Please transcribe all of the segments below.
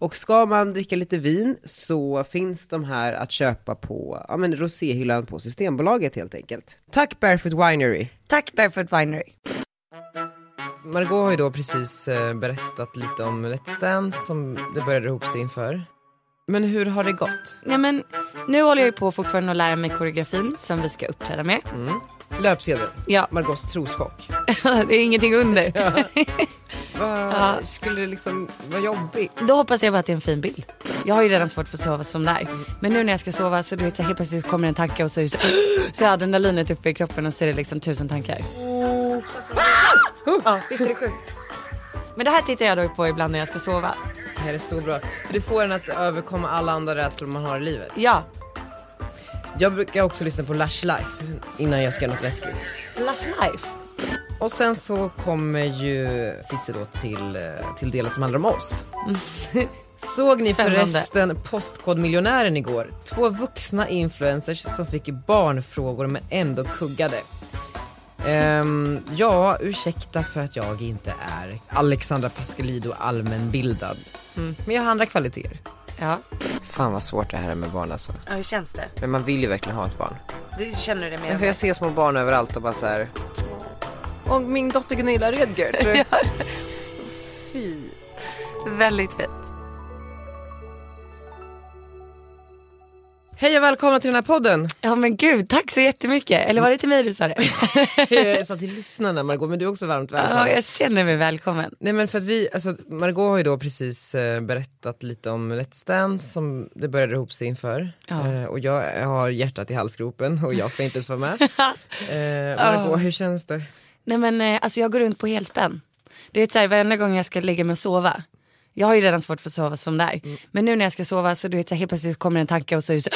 Och ska man dricka lite vin så finns de här att köpa på ja, men roséhyllan på Systembolaget helt enkelt. Tack Barefoot Winery! Tack Barefoot Winery. Margot har ju då precis eh, berättat lite om Let's Dance som det började ihop sig inför. Men hur har det gått? Ja, men, nu håller jag ju på fortfarande att lära mig koreografin som vi ska uppträda med. Löpsedeln, Ja, Margots troschock. det är ingenting under. Vad Ja. skulle det liksom vara jobbigt? Då hoppas jag bara att det är en fin bild. Jag har ju redan svårt för att sova som det är. Men nu när jag ska sova så du vet, så helt plötsligt kommer en tanke och så är det så, så är adrenalinet uppe i kroppen och så är det liksom tusen tankar. Oh. Ja, visst är det sjukt? Men det här tittar jag då på ibland när jag ska sova. Det här är så bra. För det får en att överkomma alla andra rädslor man har i livet. Ja. Jag brukar också lyssna på Lush Life innan jag ska göra något läskigt. Lush life. Och sen så kommer ju Cissi då till, eh, till delen som handlar om oss. Såg ni Spännande. förresten Postkodmiljonären igår? Två vuxna influencers som fick barnfrågor men ändå kuggade. Ehm, ja, ursäkta för att jag inte är Alexandra Pascalido allmänbildad. Men jag har andra kvaliteter. Ja. Fan vad svårt det här är med barn alltså. Ja, hur känns det? Men man vill ju verkligen ha ett barn. Du känner det mer? Alltså jag ser små barn överallt och bara så här. Och min dotter Gunilla Redgert. Fy. Väldigt fint. Hej och välkomna till den här podden. Ja men gud, tack så jättemycket. Eller var det till mig du sa det? Jag sa till lyssnarna Margot, men du är också varmt välkommen. ja, jag känner mig välkommen. Nej men för att vi, alltså Margot har ju då precis eh, berättat lite om Let's Dance som det började ihop sig inför. Ja. Eh, och jag har hjärtat i halsgropen och jag ska inte ens vara med. eh, Margot, hur känns det? Nej men eh, alltså jag går runt på helspänn. Det är så här, varenda gång jag ska lägga mig och sova. Jag har ju redan svårt för att sova som det är. Men nu när jag ska sova så du vet så här, helt plötsligt kommer en tanke och så är det så,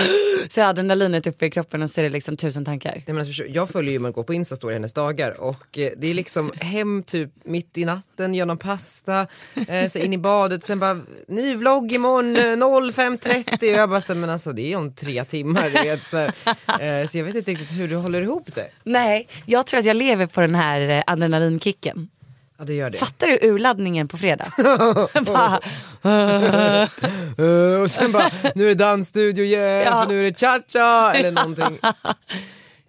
så är adrenalinet uppe i kroppen och så är det liksom tusen tankar. Nej, men alltså, förstår- jag följer ju Margot på Insta står i hennes dagar och eh, det är liksom hem typ mitt i natten, gör någon pasta, eh, så in i badet, sen bara ny vlogg imorgon eh, 05.30 och jag bara så, här, men alltså det är om tre timmar du vet, så, här. eh, så jag vet inte riktigt hur du håller ihop det. Nej, jag tror att jag lever på den här eh, adrenalinkicken. Ja det gör det. Fattar du urladdningen på fredag? Bara, Eh, och sen bara nu är det dansstudio igen, Ja. för nu är det cha-cha eller någonting.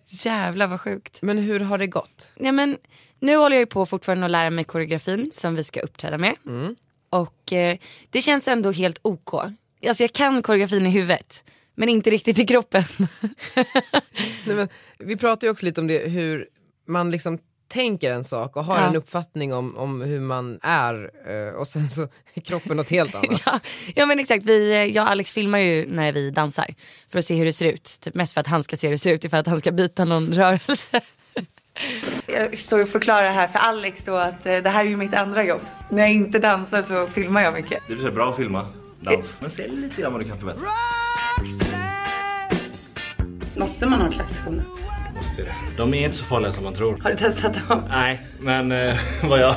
jävlar vad sjukt. Men hur har det gått? Nej, men, nu håller jag ju på fortfarande att lära mig koreografin som vi ska uppträda med. Och eh, det känns ändå helt OK. Alltså jag kan koreografin i huvudet. Men inte riktigt i kroppen. Nej, men, vi pratar ju också lite om det hur man liksom tänker en sak och har Ja. en uppfattning om, om hur man är eh, och sen så är kroppen något helt annat. ja, ja men exakt, vi, eh, jag och Alex filmar ju när vi dansar. För att se hur det ser ut. Typ mest för att han ska se hur det ser ut, inte för att han ska byta någon rörelse. Jag står och förklarar här för Alex då att eh, det här är ju mitt andra jobb. När jag inte dansar så filmar jag mycket. Det är så bra att filma dans. Men se lite grann vad du kan förbättra. Måste man ha klackskor? Se det. De är inte så farliga som man tror. Har du testat dem? Nej, men eh, vad jag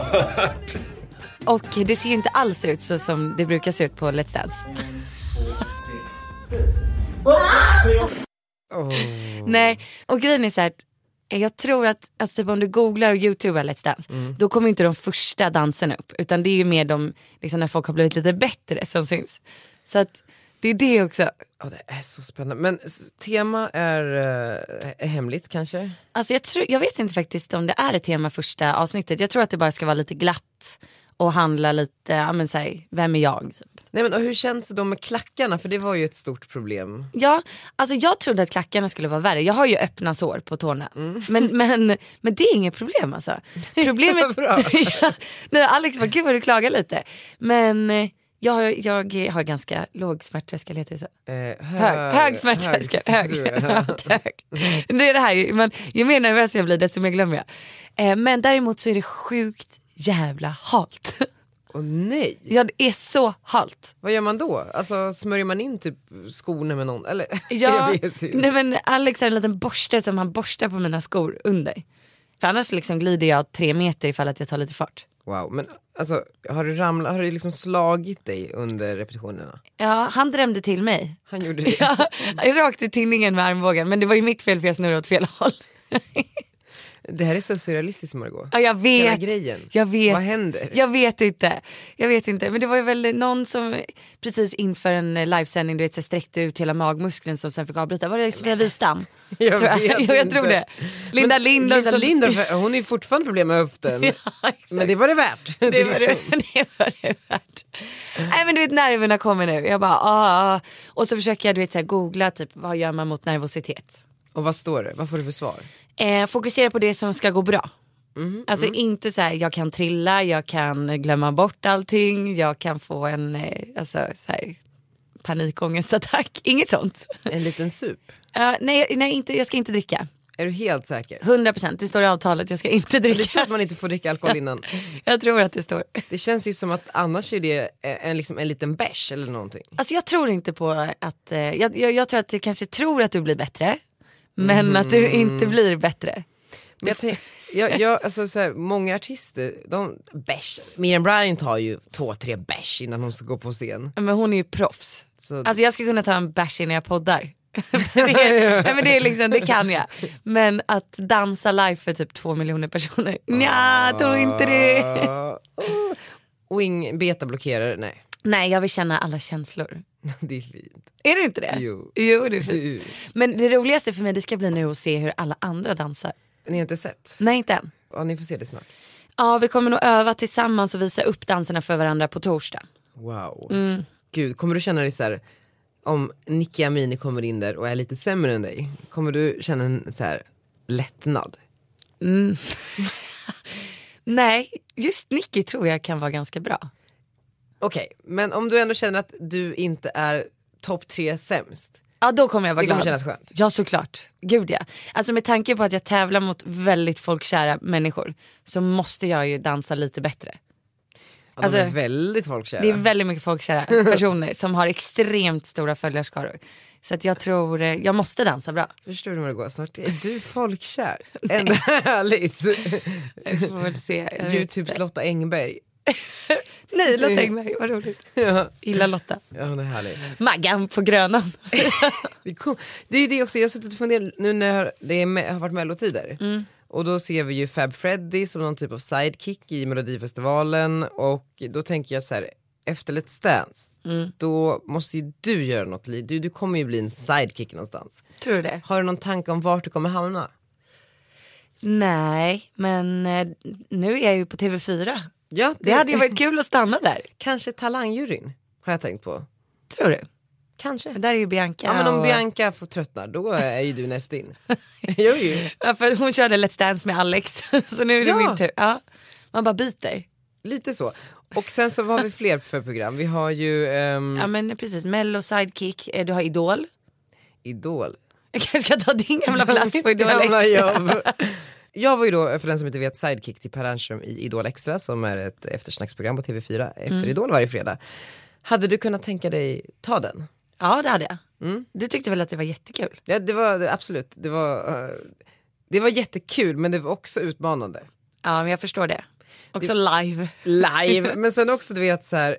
Och det ser ju inte alls ut så som det brukar se ut på Let's Dance. Åh. Nej, och grejen är så här, att jag tror att alltså typ om du googlar och youtubar Let's Dance, då kommer inte de första danserna upp. Utan det är ju mer de, liksom när folk har blivit lite bättre som syns. Så att det är det också. Ja, det är så spännande. Men s- tema är, eh, är hemligt kanske? Alltså jag, tror, jag vet inte faktiskt om det är ett tema första avsnittet. Jag tror att det bara ska vara lite glatt och handla lite, ja men så här, vem är jag? Typ. Nej men och hur känns det då med klackarna? För det var ju ett stort problem. Ja, alltså jag trodde att klackarna skulle vara värre. Jag har ju öppna sår på tårna. Men, men, men det är inget problem alltså. Problemet... Bra. ja, nej, Alex bara, gud vad du klagar lite. Men eh, jag, har- jag har ganska låg smärttröskel, heter det så? Eh, hög, Hög, hög smärttröskel. Hög. Ja, hög. Det är det här, ju- men ju mer nervös jag blir desto mer glömmer jag. Eh, Men däremot så är det sjukt jävla halt. Och nej, Ja, det är så halt. vad gör man då? Alltså smörjer man in typ skorna med någon? Eller? jag Ja, vet inte. nej men Alex har en liten borste som han borstar på mina skor under. För annars liksom glider jag tre meter ifall att jag tar lite fart. Wow, men alltså har du ramlat, har du liksom slagit dig under repetitionerna? Ja, han drämde till mig. Han gjorde det. Ja, rakt i tinningen med armbågen. Men det var ju mitt fel för jag snurrade åt fel håll. Det här är så surrealistiskt Margot. Ja, jag Hela vet. grejen. Jag vet. Vad händer? Jag vet inte. Jag vet inte. Men det var ju väl någon som precis inför en eh, livesändning du vet, så sträckte ut hela magmuskeln som sen fick avbryta. Var det Sofia Wistam? Jag tror jag. vet Jo, jag tror inte. det. Linda Men Lind Linda också. Lindorff, hon är ju fortfarande problem med höften. Ja, exakt. men det var det värt. det var det, det var det värt. Nej men du vet nerverna kommer nu. Jag bara ah, ah. Och så försöker jag du vet, så här, googla typ vad gör man mot nervositet. Och vad står det? Vad får du för svar? Eh, fokusera på det som ska gå bra. Mm-hmm, alltså inte så här, jag kan trilla, jag kan glömma bort allting, jag kan få en eh, alltså, så här, panikångestattack. Inget sånt. En liten sup? Eh, nej, nej inte, jag ska inte dricka. Är du helt säker? 100% det står i avtalet, jag ska inte Det står dricka. att man inte får dricka alkohol innan. Jag tror att det står. Det känns ju som att annars är det en, liksom en liten bärs eller någonting. Alltså jag tror inte på att, eh, jag, jag, jag tror att du kanske tror att du blir bättre. Men att du inte blir bättre. Men jag tänk, jag, jag, alltså, så här, många artister, de, bärs. Miriam Bryant tar ju två, tre bärs innan hon ska gå på scen. Men hon är ju proffs. Så, Alltså jag skulle kunna ta en bärs innan jag poddar. det, är, nej men det, är liksom, det kan jag. Men att dansa live för typ två miljoner personer, Nja, tror inte det. Ah, oh. Wing beta-blockerare, nej. Nej jag vill känna alla känslor. Det är fint. Är det inte det? Jo. Jo det är fint. Men det roligaste för mig det ska bli nu att se hur alla andra dansar. Ni har inte sett? Nej inte än. Ja, ni får se det snart. Ja vi kommer nog öva tillsammans och visa upp danserna för varandra på torsdag. Wow. Mm. Gud, kommer du känna dig så här, om Nicky Amini kommer in där och är lite sämre än dig, kommer du känna en så här lättnad? Nej, just Nicky tror jag kan vara ganska bra. Okej, men om du ändå känner att du inte är topp tre sämst, Ja då kommer jag vara det kommer glad. kännas skönt. Ja såklart, gud ja. Alltså med tanke på att jag tävlar mot väldigt folkkära människor så måste jag ju dansa lite bättre. Ja, Alltså, de är väldigt folkkära. Det är väldigt mycket folkkära personer som har extremt stora följarskaror. Så att jag tror, eh, jag måste dansa bra. Förstår du vad det går? Snart är du folkkär. Ändå härligt. Jag får väl se. Jag vet inte. Youtubes Lotta Engberg. Nej Lotta Engberg, vad roligt. Ja, Gilla Lotta. ja, hon är härlig. Maggan på Grönan. Det är, cool. det är ju det också, jag har suttit och funderat nu när jag har- det är, me- har varit mellotider. Mm. Och då ser vi ju Fab Freddy som någon typ av sidekick i melodifestivalen och då tänker jag så här, efter Let's Dance, Mm. då måste ju du göra något, Li. du, du kommer ju bli en sidekick någonstans. Tror du det? Har du någon tanke om vart du kommer hamna? Nej, men eh, nu är jag ju på TV4. Ja, Det hade ju varit kul att stanna där. Kanske talangjuryn, har jag tänkt på. Tror du? Kanske. Men där är ju Bianca. Ja, men om och- Bianca får tröttna då är ju du näst in. jo, ju. Ja, för hon körde Let's Dance med Alex, så nu är det Ja. min tur. Ja. Man bara byter. Lite så. Och sen så har vi fler för program. Vi har ju ehm, Ja men precis, Mello sidekick, eh, du har Idol. Idol. Jag kanske ska ta din gamla plats på Idol Gamla Extra. jobb. Jag var ju då, för den som inte vet, sidekick till Per Ernström i Idol Extra som är ett eftersnacksprogram på TV4 efter Mm. Idol varje fredag. Hade du kunnat tänka dig ta den? Ja det hade jag. Mm. Du tyckte väl att det var jättekul? Ja, det var det- absolut, det var, eh, det var jättekul men det var också utmanande. Ja men jag förstår det. Också live. live. Men sen också du vet så här,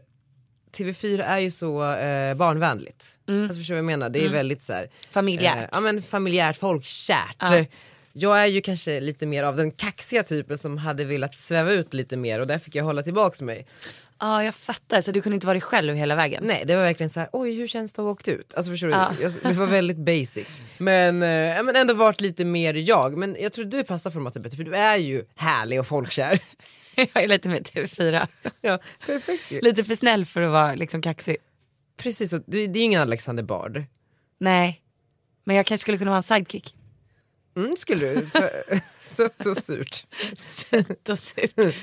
TV4 är ju så eh, barnvänligt. Alltså förstår du vad jag menar? Det är väldigt så här, Mm. eh, Familjärt. ja men familjärt, folkkärt. Ja. Jag är ju kanske lite mer av den kaxiga typen som hade velat sväva ut lite mer och där fick jag hålla tillbaks mig. Ja jag fattar, så du kunde inte vara dig själv hela vägen? Nej det var verkligen så här, oj hur känns det att ha åkt ut? Alltså förstår du? Ja. Jag, det var väldigt basic. Men, eh, ja, men ändå varit lite mer jag. Men jag tror du passar formatet bättre för du är ju härlig och folkkär. Jag är lite mer TV4. ja, perfekt ju. Lite för snäll för att vara liksom kaxig. Precis, och du, det är ju ingen Alexander Bard. Nej. Men jag kanske skulle kunna vara en sidekick. Mm, skulle du. För- Sött och surt. Sött och surt.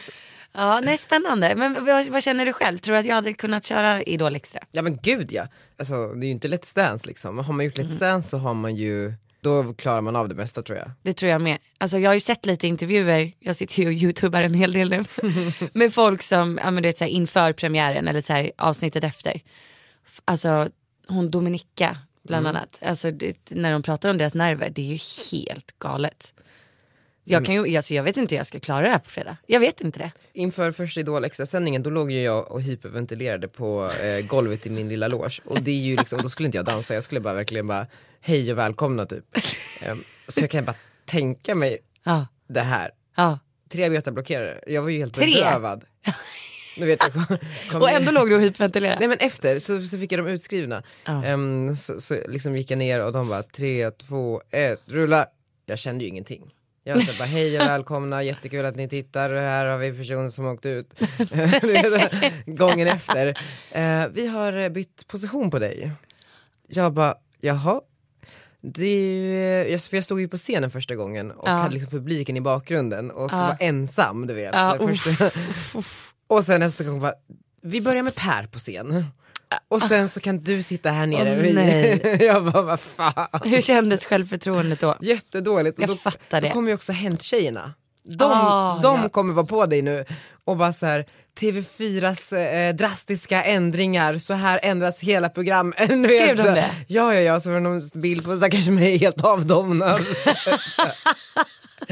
Ja, nej spännande. Men vad, vad känner du själv? Tror du att jag hade kunnat köra Idol Extra? Mm. Ja men gud ja. Alltså, det är ju inte Let's Dance liksom. Har man gjort Let's Dance så har man ju, Då klarar man av det mesta tror jag. Det tror jag med. Alltså jag har ju sett lite intervjuer, jag sitter ju och youtubar en hel del nu, med folk som, ja men du vet såhär inför premiären eller såhär avsnittet efter. F- Alltså hon Dominika bland annat, alltså det, när de pratar om deras nerver, det är ju helt galet. Jag, kan ju, alltså jag vet inte hur jag ska klara det här på fredag. Jag vet inte det. Inför första Idol extrasändningen då låg ju jag och hyperventilerade på eh, golvet i min lilla loge och det är ju liksom, då skulle inte jag dansa, jag skulle bara verkligen bara hej och välkomna typ. Ehm, så jag kan bara tänka mig Ja, det här. ja. Tre betablockerare, jag var ju helt Tre? bedrövad. Nu vet jag, kom, kom Och ändå låg du och hyperventilerade. Nej men efter så, så fick jag dem utskrivna. Ja. Ehm, så så liksom gick jag ner och de bara tre, två, ett, rulla. Jag kände ju ingenting. Jag sa bara hej och välkomna, jättekul att ni tittar, här har vi personer som har åkt ut. Du vet, Gången efter. Eh, vi har bytt position på dig. Jag bara, jaha. Du, jag, för jag stod ju på scenen första gången och Ja. hade liksom publiken i bakgrunden och Ja. var ensam du vet. Ja, För första, och sen nästa gång bara, vi börjar med Per på scen. Och sen så kan du sitta här nere. Åh, nej. jag bara, vad fan. Hur kändes självförtroendet då? Jättedåligt. Och Jag då, fattar det. Då kommer ju också Hänt-tjejerna. De, Ah, de ja. kommer vara på dig nu och bara så här, TV4s eh, drastiska ändringar, så här ändras hela programmet. Skrev de det? Ja, ja, ja, så var det någon bild på stackars mig helt avdomnad.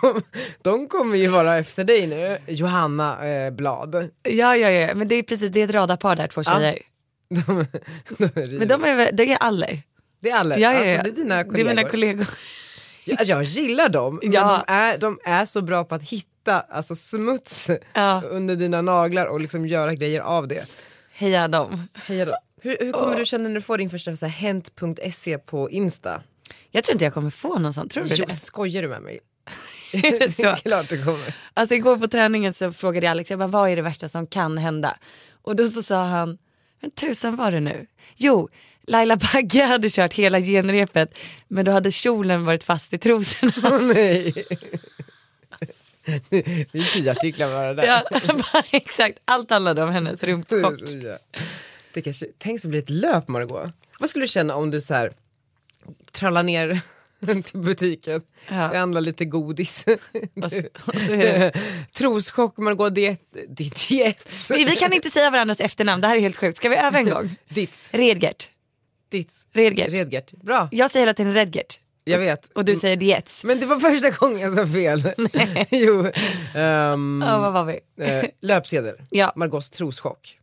de, de kommer ju vara efter dig nu, Johanna eh, Blad. Ja, ja, ja, men det är precis, det är ett radarpar där, två tjejer. De, de är Men de är, väl- det är aller. Det är alla, Ja, ja, ja. alltså, det är dina kollegor. Det är mina kollegor. jag, jag gillar dem, men Ja. de, är, de är så bra på att hitta alltså, smuts Ja. under dina naglar och liksom göra grejer av det. Heja dem. Heja då. Hur, hur kommer du känna när du får din första så här, hent.se på Insta? Jag tror inte jag kommer få någon sån, tror du Jo, det? skojar du med mig? Mm. Är det så? Klart du kommer. Alltså igår på träningen så frågade jag Alex, jag bara, vad är det värsta som kan hända? Och då så sa han, men tusan var det nu? Jo, Laila Bagge hade kört hela genrepet men då hade kjolen varit fast i trosorna. Åh nej. Det är tio artiklar bara där. Ja, bara, exakt, allt handlade om hennes Det rumpchock. är så jä- Det kanske, tänk så blir det ett löp Margot. Vad skulle du känna om du så här trallar ner till butiken, Ja. ska handla lite godis. Och så, och så är det. Troschock Margot, diet, ditt diet. Vi, vi kan inte säga varandras efternamn, det här är helt sjukt. Ska vi öva en gång? Ditt, Redgert. ditt, Redgert. Redgert. Bra, Jag säger hela tiden Redgert jag vet. och du säger Dietz. Men det var första gången jag sa fel. jo. ehm, Ja, vad var vi? eh, löpsedel, Ja. Margots troschock.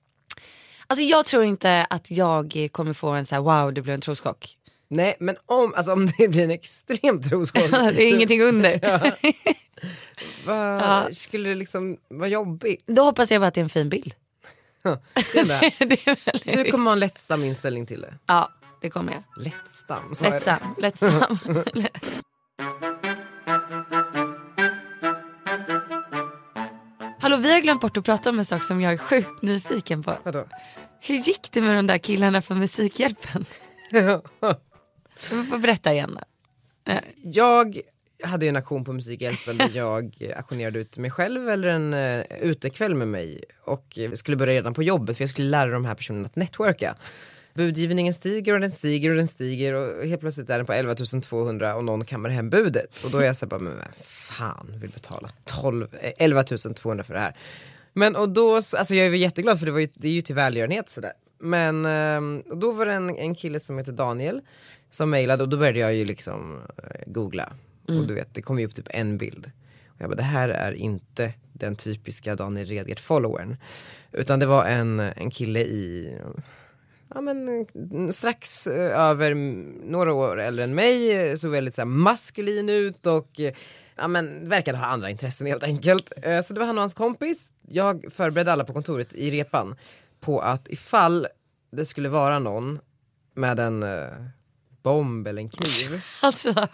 Alltså jag tror inte att jag kommer få en så här wow det blev en troschock. Nej men om, alltså, om det blir en extrem troschock. Det är ingenting under. Vad Ja. skulle det liksom vara jobbigt? Då hoppas jag bara att det är en fin bild. Det är det. det är väldigt... Du kommer ha en lättsam inställning till det. Ja, det kommer jag. Lättsam? sa jag det. Lättsam, lättsam. Hallå, vi har glömt bort att prata om en sak som jag är sjukt nyfiken på. Vadå? Hur gick det med de där killarna från Musikhjälpen? Du får berätta igen då. jag hade ju en aktion på Musikhjälpen där jag eh, auktionerade ut mig själv eller en uh, utekväll med mig och eh, skulle börja redan på jobbet för jag skulle lära de här personerna att networka. Budgivningen stiger och den stiger och den stiger och helt plötsligt är den på 11 200 och någon kammar hem budet. Och då är jag så här bara, men vem fan vill betala 12, eh, 11 200 för det här? Men och då, så- alltså jag är ju jätteglad för det, var ju, det är ju till välgörenhet sådär. Men ehm, och då var det en, en kille som heter Daniel som mejlade och då började jag ju liksom eh, googla. Och du vet, det kom ju upp typ en bild. Och jag bara, det här är inte den typiska Daniel Redgert-followern. Utan det var en, en kille i, ja men eh, strax eh, över m- några år äldre än mig, eh, såg väldigt så här, maskulin ut och eh, ja men verkade ha andra intressen helt enkelt. Eh, Så det var han och hans kompis. Jag förberedde alla på kontoret i repan på att ifall det skulle vara någon med en eh, bomb eller en kniv Alltså,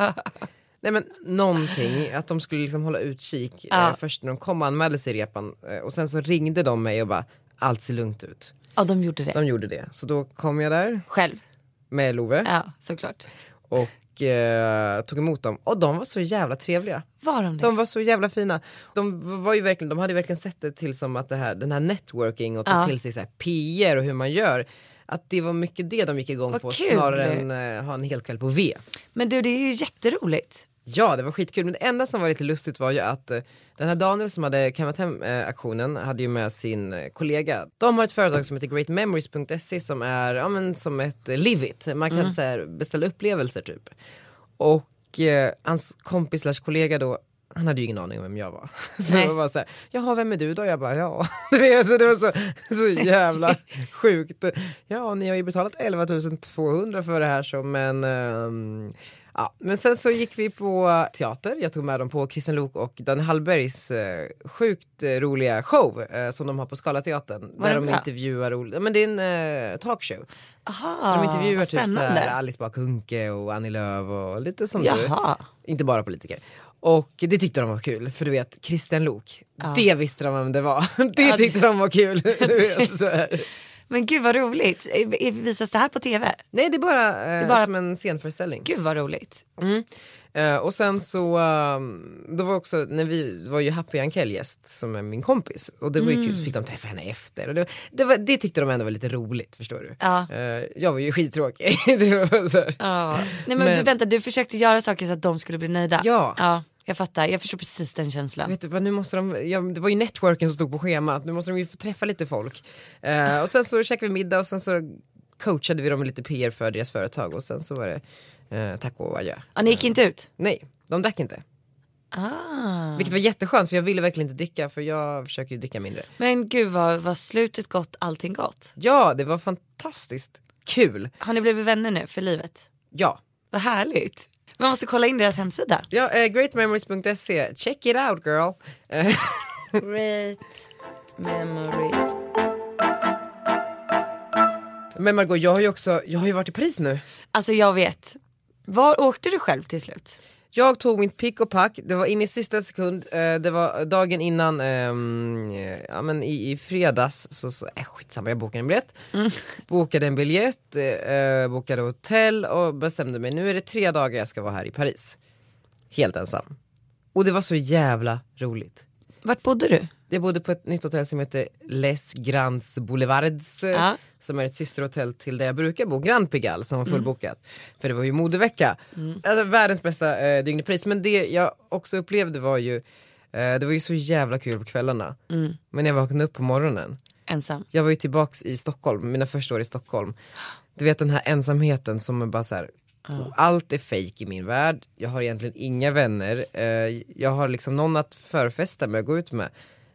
Nej men någonting, att de skulle liksom hålla utkik eh, Ja. först när de kom och anmälde sig i repan eh, och sen så ringde de mig och bara allt ser lugnt ut. ja de gjorde det. De gjorde det, så då kom jag där Själv. med Love Ja, såklart. och eh, tog emot dem och de var så jävla trevliga. Var de det? De var så jävla fina. De, var ju verkligen, de hade ju verkligen sett det till som att det här, den här networking och ta Ja. till sig så här PR och hur man gör. att det var mycket det de gick igång Vad på kul. snarare än eh, ha en hel kväll på V. Men du det är ju jätteroligt. Ja, det var skitkul. Men det enda som var lite lustigt var ju att eh, den här Daniel som hade kammat hem eh, aktionen hade ju med sin eh, kollega. De har ett företag som heter greatmemories.se som är ja, men, som ett eh, livit. Man kan så här, beställa upplevelser typ. Och eh, hans kompis slash kollega då han hade ju ingen aning om vem jag var. Så Nej. jag var bara såhär, jaha vem är du då? Jag bara, ja. Du vet, det var så, så jävla sjukt. Ja, ni har ju betalat 11 200 för det här så men ehm, Ja, men sen så gick vi på teater, jag tog med dem på Kristian Lok och Daniel Hallbergs eh, sjukt eh, roliga show eh, som de har på Scalateatern. Var Där den de bra? intervjuar, ol- men det är en eh, talkshow. Aha, Så de intervjuar Ah, vad typ så spännande. här Alice Bah Kuhnke och Annie Lööf och lite som Jaha. du. Inte bara politiker. Och det tyckte de var kul, för du vet Kristian Lok, det visste de vem det var. Det Ja, det- tyckte de var kul. Du vet, så här. Men gud vad roligt. Eh, Visas det här på tv? Nej det är, bara, eh, bara- som en scenföreställning. Gud vad roligt. Eh, och sen så, ehm, då var också, när vi det var ju Happy Ankell gäst som är min kompis. Och det var ju kul, så fick de träffa henne efter. Och det, det, var, det tyckte de ändå var lite roligt förstår du. Ja. Eh, jag var ju skittråkig. det var så här. Ja. Nej men, Men- du vänta, du försökte göra saker så att de skulle bli nöjda. Ja. ja jag fattar, jag förstår precis den känslan. Vet du vad, nu måste de, ja, det var ju networken som stod på schemat, nu måste de ju få träffa lite folk. Eh, och sen så käkade vi middag och sen så coachade vi dem med lite PR för deras företag och sen så var det eh, tack och adjö. Ja, ni gick inte ut? Nej, de drack inte. Ah. Vilket var jätteskönt för jag ville verkligen inte dricka för jag försöker ju dricka mindre. Men gud vad, vad slutet gott, allting gott. Ja, det var fantastiskt kul. Har ni blivit vänner nu för livet? Ja, Vad härligt. Man måste kolla in deras hemsida. ja eh, greatmemories.se, check it out girl. Eh, Great memories. men Margot, jag har ju också, jag har ju varit i Paris nu. Alltså jag vet. Var åkte du själv till slut? Jag tog mitt pick och pack, det var in i sista sekund, eh, det var dagen innan, ehm, eh, ja men i, i fredags så, så äh, skitsamma jag bokade en biljett. Bokade en biljett, eh, eh, bokade hotell och bestämde mig, nu är det tre dagar jag ska vara här i Paris. Helt ensam. Och det var så jävla roligt. Vart bodde du? Jag bodde på ett nytt hotell som heter Les Grands Boulevards. eh, Ja. Som är ett systerhotell till där jag brukar bo, Grand Pigalle som var fullbokat. För det var ju modevecka. Alltså, världens bästa eh, dygnepris. Men det jag också upplevde var ju, eh, det var ju så jävla kul på kvällarna. Men när jag vaknade upp på morgonen, Ensam. jag var ju tillbaks i Stockholm, mina första år i Stockholm. Du vet den här ensamheten som är bara så här. Allt är fake i min värld, jag har egentligen inga vänner, eh, jag har liksom någon att förfesta med och gå ut med.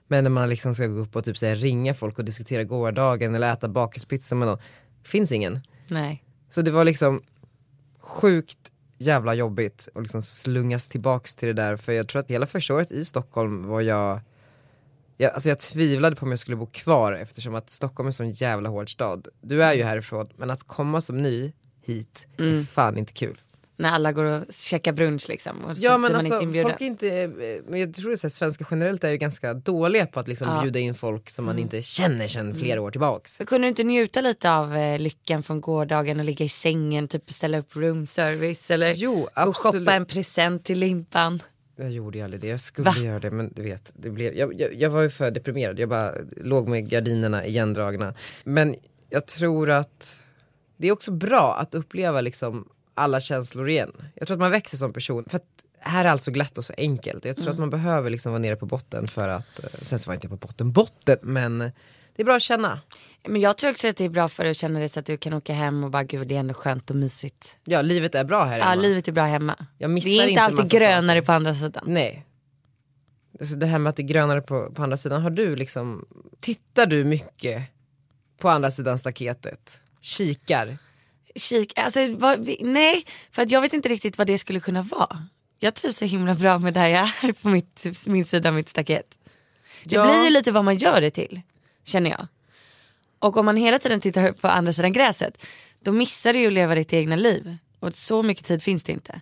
Men när man liksom ska gå upp och typ så här, ringa folk och diskutera gårdagen eller äta bakelspizza med någon, finns ingen. Nej. Så det var liksom sjukt jävla jobbigt att liksom slungas tillbaks till det där för jag tror att hela första året i Stockholm var jag jag, alltså jag tvivlade på om jag skulle bo kvar eftersom att Stockholm är en sån jävla hård stad. Du är ju Mm. härifrån men att komma som ny hit är fan inte kul. När alla går och käkar brunch liksom. Och så Ja men blir man alltså inte inbjuden. folk är inte, eh, men jag tror att så här, svenskar generellt är ju ganska dåliga på att liksom bjuda in folk som man inte känner sedan Mm. flera år tillbaks. Så kunde du inte njuta lite av eh, lyckan från gårdagen och ligga i sängen, typ beställa upp roomservice eller Jo gå och absolut. shoppa en present till limpan. Jag gjorde ju aldrig det, jag skulle göra det men du vet, det blev, jag, jag, jag var ju för deprimerad, jag bara låg med gardinerna igendragna. Men jag tror att det är också bra att uppleva liksom alla känslor igen. Jag tror att man växer som person, för att här är allt så glatt och så enkelt. Jag tror att man behöver liksom vara nere på botten för att, eh, sen så var jag inte på botten, botten, men det är bra att känna. Men jag tror också att det är bra för dig att känna dig så att du kan åka hem och bara gud det är ändå skönt och mysigt. Ja, livet är bra här Ja hemma. livet är bra hemma. Jag missar det är inte inte alltid massa grönare på andra sidan. Nej. Alltså det här med att det är grönare på, på andra sidan, har du liksom, tittar du mycket på andra sidan staketet? Kikar? Kik, alltså, vad, vi, nej för att jag vet inte riktigt vad det skulle kunna vara. Jag trivs så himla bra med där jag är på mitt, min sida av mitt staket. Det Ja. blir ju lite vad man gör det till, känner jag. Och om man hela tiden tittar på andra sidan gräset, då missar du ju att leva ditt egna liv. Och så mycket tid finns det inte.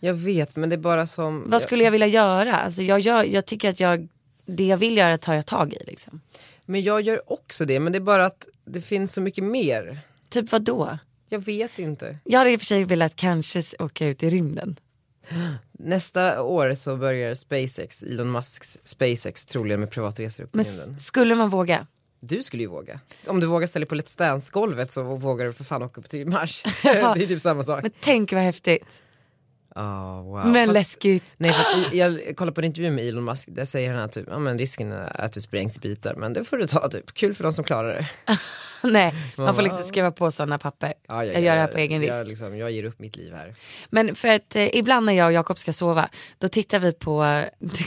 Jag vet men det är bara som... Vad skulle jag vilja göra? Alltså jag, gör, jag tycker att jag, det jag vill göra tar jag tag i. Liksom. Men jag gör också det, men det är bara att det finns så mycket mer. Typ vad då? Jag vet inte. Jag hade i och för sig velat kanske s- åka ut i rymden. Nästa år så börjar SpaceX, Elon Musks SpaceX troligen med privatresor upp Men till rymden. s- skulle man våga? Du skulle ju våga. Om du vågar ställa dig på Let's Dance-golvet så vågar du för fan åka upp till Mars. det är typ samma sak. Men tänk vad häftigt. Ah, wow. Men Fast- läskigt. Nej, för att i- jag kollade på en intervju med Elon Musk, där säger han att typ, ja, men risken är att du sprängs i bitar, men det får du ta typ. Kul för de som klarar det. Nej, man bara, får liksom skriva på sådana papper. Ja, jag, gör det här på egen risk. Jag, liksom, jag ger upp mitt liv här. Men för att eh, ibland när jag och Jakob ska sova, då tittar vi på,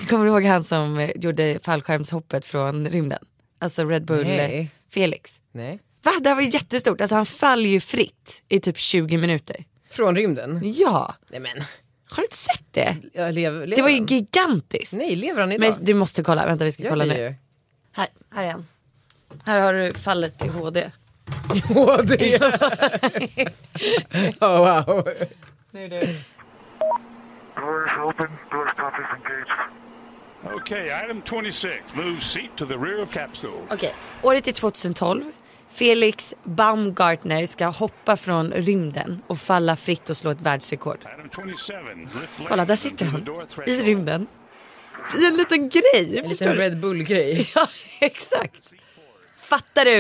kommer du ihåg han som eh, gjorde fallskärmshoppet från rymden? Alltså Red Bull eh, Nej. Felix. Nej. Va? Det här var ju jättestort, alltså han faller ju fritt i typ 20 minuter. Från rymden? Ja, Nej men, har du inte sett det? jag lever, lever Det var ju han? gigantiskt. Nej, lever han idag? Men du måste kolla, vänta vi ska jag kolla blir nu. ju. Här, här är han. Här har du fallet i HD. Åh, det oh, wow. Doors open, doors conference engaged. Okay, item 26. Move seat to the rear of capsule. Okej, året är 2012. Felix Baumgartner ska hoppa från rymden och falla fritt och slå ett världsrekord. Item 27. Lift Kolla, där left sitter under the han. door I threshold. rymden. I en liten grej. En förstår liten du? Red Bull-grej. Ja, exakt. Fattar du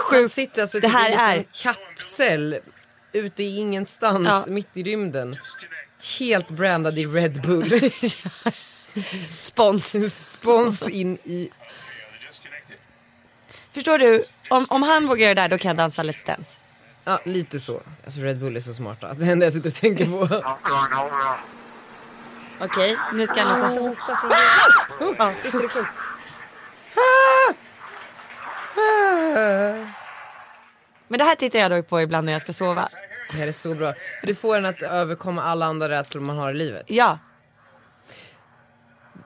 Han sjukt sitter alltså det typ i här en är? liten kapsel ute i ingenstans, Ja. mitt i rymden. Helt brandad i Red Bull. Spons. Spons in i... Förstår du? Om, om han vågar göra det där då kan jag dansa Let's Dance. Ja, lite så. Alltså Red Bull är så smarta. Det enda jag sitter och tänker på. Outgoing, over. Okej, nu ska han alltså hoppa från ja, visst är det sjukt? Men det här tittar jag då på ibland när jag ska sova. Det här är så bra. För det får en att överkomma alla andra rädslor man har i livet. Ja,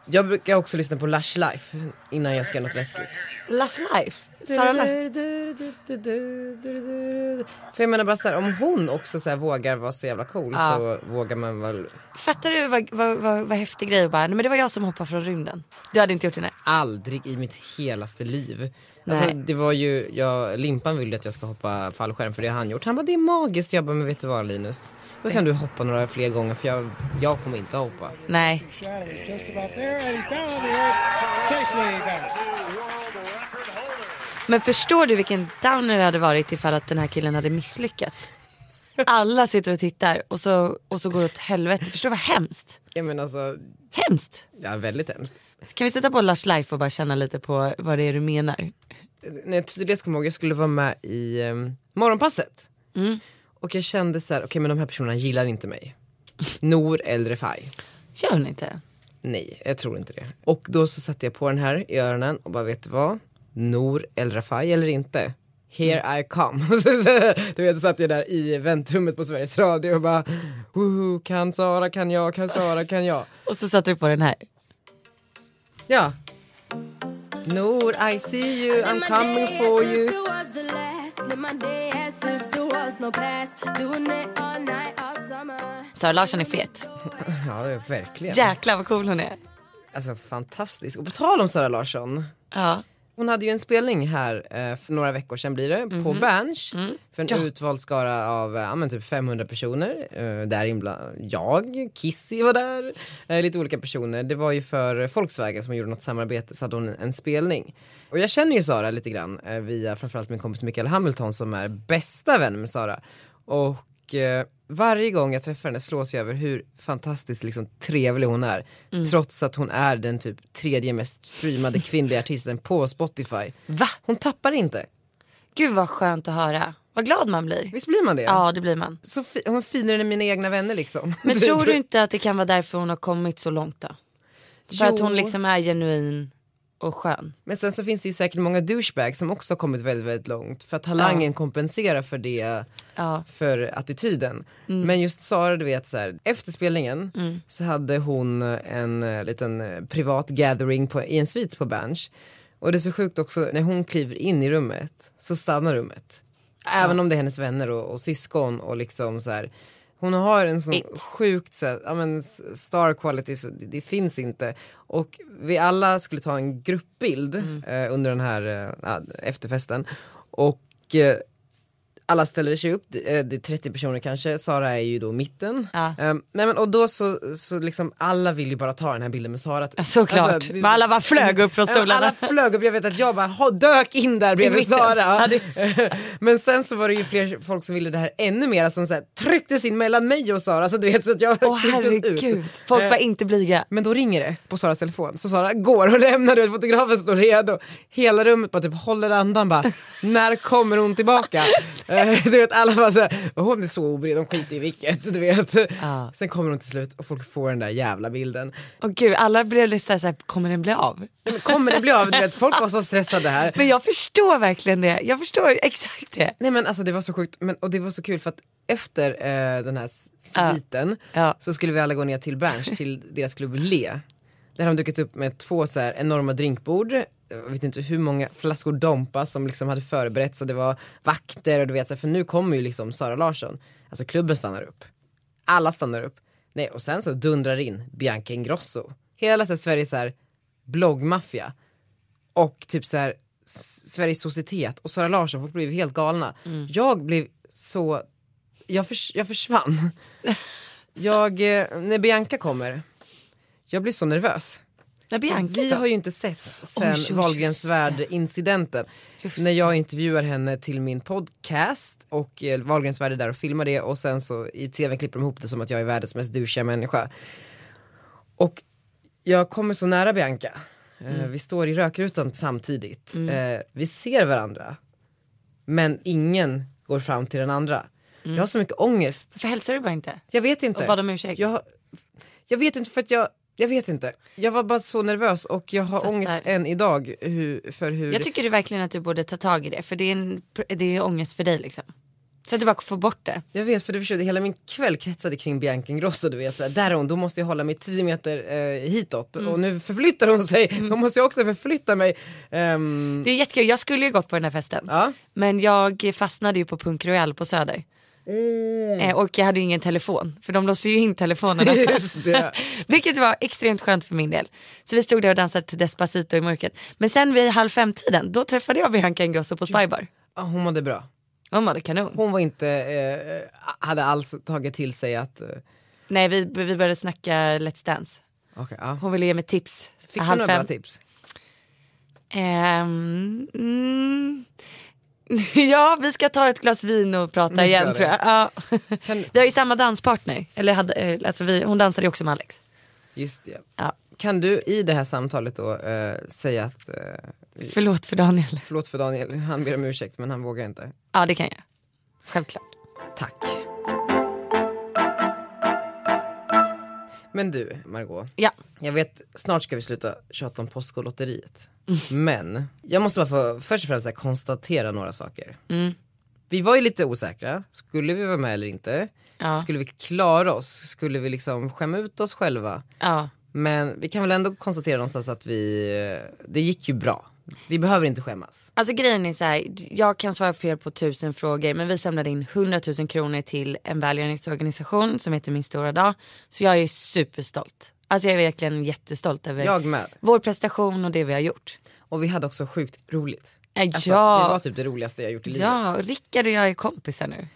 Jag brukar också lyssna på Lush Life innan jag ska göra något läskigt. Lush Life. Sara Lush. För jag menar bara så här, om hon också så här vågar vara så jävla cool Ja. så vågar man väl... Fattar du vad, vad, vad, vad häftig grej att bara, nej men det var jag som hoppade från rymden. Du hade inte gjort det nej. Aldrig i mitt helaste liv. Alltså Nej. det var ju, jag, Limpan ville att jag ska hoppa fallskärm för det har han gjort. Han bara det är magiskt. Jag bara men vet du vad Linus? Då kan du hoppa några fler gånger för jag, jag kommer inte att hoppa. Nej. Shot. He's just about there, and he's down on the earth safely. About it. Men förstår du vilken downer det hade varit ifall att den här killen hade misslyckats? Alla sitter och tittar och så, och så går det åt helvete. Förstår du vad hemskt? Jag menar alltså, Hemskt! ja väldigt hemskt. Kan vi sätta på Lush Life och bara känna lite på vad det är du menar? när jag tog det ska jag ihåg, jag skulle vara med i ehm, Morgonpasset. Och jag kände så här, okej men de här personerna gillar inte mig. Nor eller Refai. Gör hon inte? Nej, jag tror inte det. Och då så satte jag på den här i öronen och bara, vet du vad? Nor eller Refai eller inte? Here I come. du vet, så satt jag där i väntrummet på Sveriges Radio och bara, woho, kan Sara, kan jag, kan Sara, kan jag. Och så satte du på den här. Ja. Nor, I see you, I'm coming for you. Sara Larsson är fet. Ja, verkligen. Jäklar vad cool hon är. Alltså fantastisk. Och på tal om Sara Larsson. Ja. Hon hade ju en spelning här eh, för några veckor sedan blir det, på Berns. För en utvald skara av eh, ja, men typ 500 personer. Eh, där inbla- jag, Kissy var där, eh, lite olika personer. Det var ju för Volkswagen som gjorde något samarbete så hade hon en spelning. Och jag känner ju Sara lite grann eh, via framförallt min kompis Mikael Hamilton som är bästa vän med Sara. Och eh, varje gång jag träffar henne slås jag över hur fantastiskt liksom, trevlig hon är. Mm. Trots att hon är den typ tredje mest streamade kvinnliga artisten på Spotify. Va? Hon tappar inte. Gud vad skönt att höra. Vad glad man blir. Visst blir man det? Ja det blir man. Så fi- hon är finare än mina egna vänner liksom. Men Typ. tror du inte att det kan vara därför hon har kommit så långt då? För att Jo. hon liksom är genuin och skön. Men sen så finns det ju säkert många douchebags som också har kommit väldigt, väldigt långt. För att talangen kompenserar för det, Ja. för attityden. Men just Sara, du vet så här, efter spelningen så hade hon en eh, liten eh, privat gathering på, i en svit på Berns. Och det är så sjukt också, när hon kliver in i rummet så stannar rummet. Även om det är hennes vänner och, och syskon och liksom så här. Hon har en sån It. sjukt så här, ja, men s- star quality, så det, det finns inte. Och vi alla skulle ta en Mm. gruppbild eh, under den här eh, ja, efterfesten. Och eh, alla ställer sig upp, det eh, det är 30 personer kanske, Sara är ju då i mitten. Ja. Ehm, nej men och då så, så liksom alla vill ju bara ta den här bilden med Sara. alltså, Ja, såklart. det- Men alla bara flög upp från Ja, men stolarna. Alla flög upp, jag vet att jag bara ha, dök in där bredvid mitten. Sara. men sen så var det ju fler folk som ville det här ännu mer, som så här, trycktes in mellan mig och Sara så du vet så att jag Åh trycktes ut. Eh. herregud, folk var inte blyga. Men då ringer det på Saras telefon. Så Sara går och lämnar det. Fotografen står redo. Hela rummet bara typ håller andan bara. När kommer hon tillbaka? Eh, du vet alla bara såhär, hon är så obrydd, hon skiter i vilket. Du vet. Ja. Sen kommer hon till slut och folk får den där jävla bilden. Åh gud, alla blev lite så här, så här, kommer den bli av? Men kommer det bli av? Du vet, folk var så stressade här. Men jag förstår verkligen det, jag förstår exakt det. Nej men alltså det var så sjukt, men, och det var så kul för att efter eh, den här s- Ja. sviten Ja. så skulle vi alla gå ner till Berns, till deras klubb Le. Där har de dukat upp med två så här enorma drinkbord, jag vet inte hur många flaskor Dompa som liksom hade förberetts och det var vakter och du vet så här, för nu kommer ju liksom Sara Larsson. Alltså klubben stannar upp, alla stannar upp. Nej och sen så dundrar in Bianca Ingrosso, hela så här, Sveriges så här, bloggmaffia och typ så här S- Sveriges societet och Sara Larsson, folk blev helt galna. Jag blev så, jag, förs- jag försvann. jag, eh, när Bianca kommer, jag blir så nervös. När Bianca Vi då? har ju inte setts sen Oj, oj, Wahlgrens just det. värld-incidenten. Just När jag intervjuar henne till min podcast och eh, Wahlgrens värld är där och filmar det och sen så i tv klipper de ihop det som att jag är världens mest douchiga människa. Och jag kommer så nära Bianca. Eh, Mm. Vi står i rökrutan samtidigt. Eh, vi ser varandra. Men ingen går fram till den andra. Jag har så mycket ångest. Varför hälsar du bara inte? Jag vet inte. Mm. Och bad om ursäkt. Jag, jag vet inte för att jag, jag vet inte. Jag var bara så nervös och jag har Fattar. ångest än idag hur, för hur. Jag tycker du verkligen att du borde ta tag i det för det är, en, det är ångest för dig liksom. Så att du bara får bort det. Jag vet för du förstår, hela min kväll kretsade kring Bianca Ingrosso du vet såhär, där är hon, då måste jag hålla mig 10 meter eh, hitåt Mm. och nu förflyttar hon sig, då måste jag också förflytta mig. Ehm, Det är jättekul, jag skulle ju gått på den här festen. ja. Men jag fastnade ju på Punk Royal på Söder. Mm. Eh, och jag hade ju ingen telefon, för de låser ju in telefonerna. Just det. Vilket var extremt skönt för min del. Så vi stod där och dansade till Despacito i mörkret. Men sen vid halv fem-tiden, då träffade jag Bianca Ingrosso på Spybar. Ja, hon mådde bra. Hon mådde kanon. Hon var inte, eh, hade alls tagit till sig att, eh, Nej vi, vi började snacka Let's Dance. okej, ja. Hon ville ge mig tips. Fick du Halv några fem. bra tips? Ehm, mm, ja, vi ska ta ett glas vin och prata Vi ska igen det. tror jag. Ja. Kan- Vi har ju samma danspartner. Eller hade, eh, alltså vi, hon dansade ju också med Alex. Just det. Ja. Kan du i det här samtalet då eh, säga att eh, Förlåt för Daniel. Förlåt för Daniel, han ber om ursäkt men han vågar inte. Ja, det kan jag. Självklart. Tack. Men du, Margot. Ja. Jag vet, snart ska vi sluta tjata om Postkodlotteriet. Men, jag måste bara få först och främst så här, konstatera några saker. Vi var ju lite osäkra, skulle vi vara med eller inte? Ja. Skulle vi klara oss? Skulle vi liksom skämma ut oss själva? Ja. Men vi kan väl ändå konstatera någonstans att vi, eh, det gick ju bra. Vi behöver inte skämmas. Alltså grejen är så här, jag kan svara fel på tusen frågor men vi samlade in 100 000 kronor till en välgörenhetsorganisation som heter Min stora dag. Så jag är superstolt. Alltså jag är verkligen jättestolt över Jag med. vår prestation och det vi har gjort. Och vi hade också sjukt roligt. Eh, Alltså, ja. Det var typ det roligaste jag gjort i livet. Ja, och Rickard och jag är kompisar nu.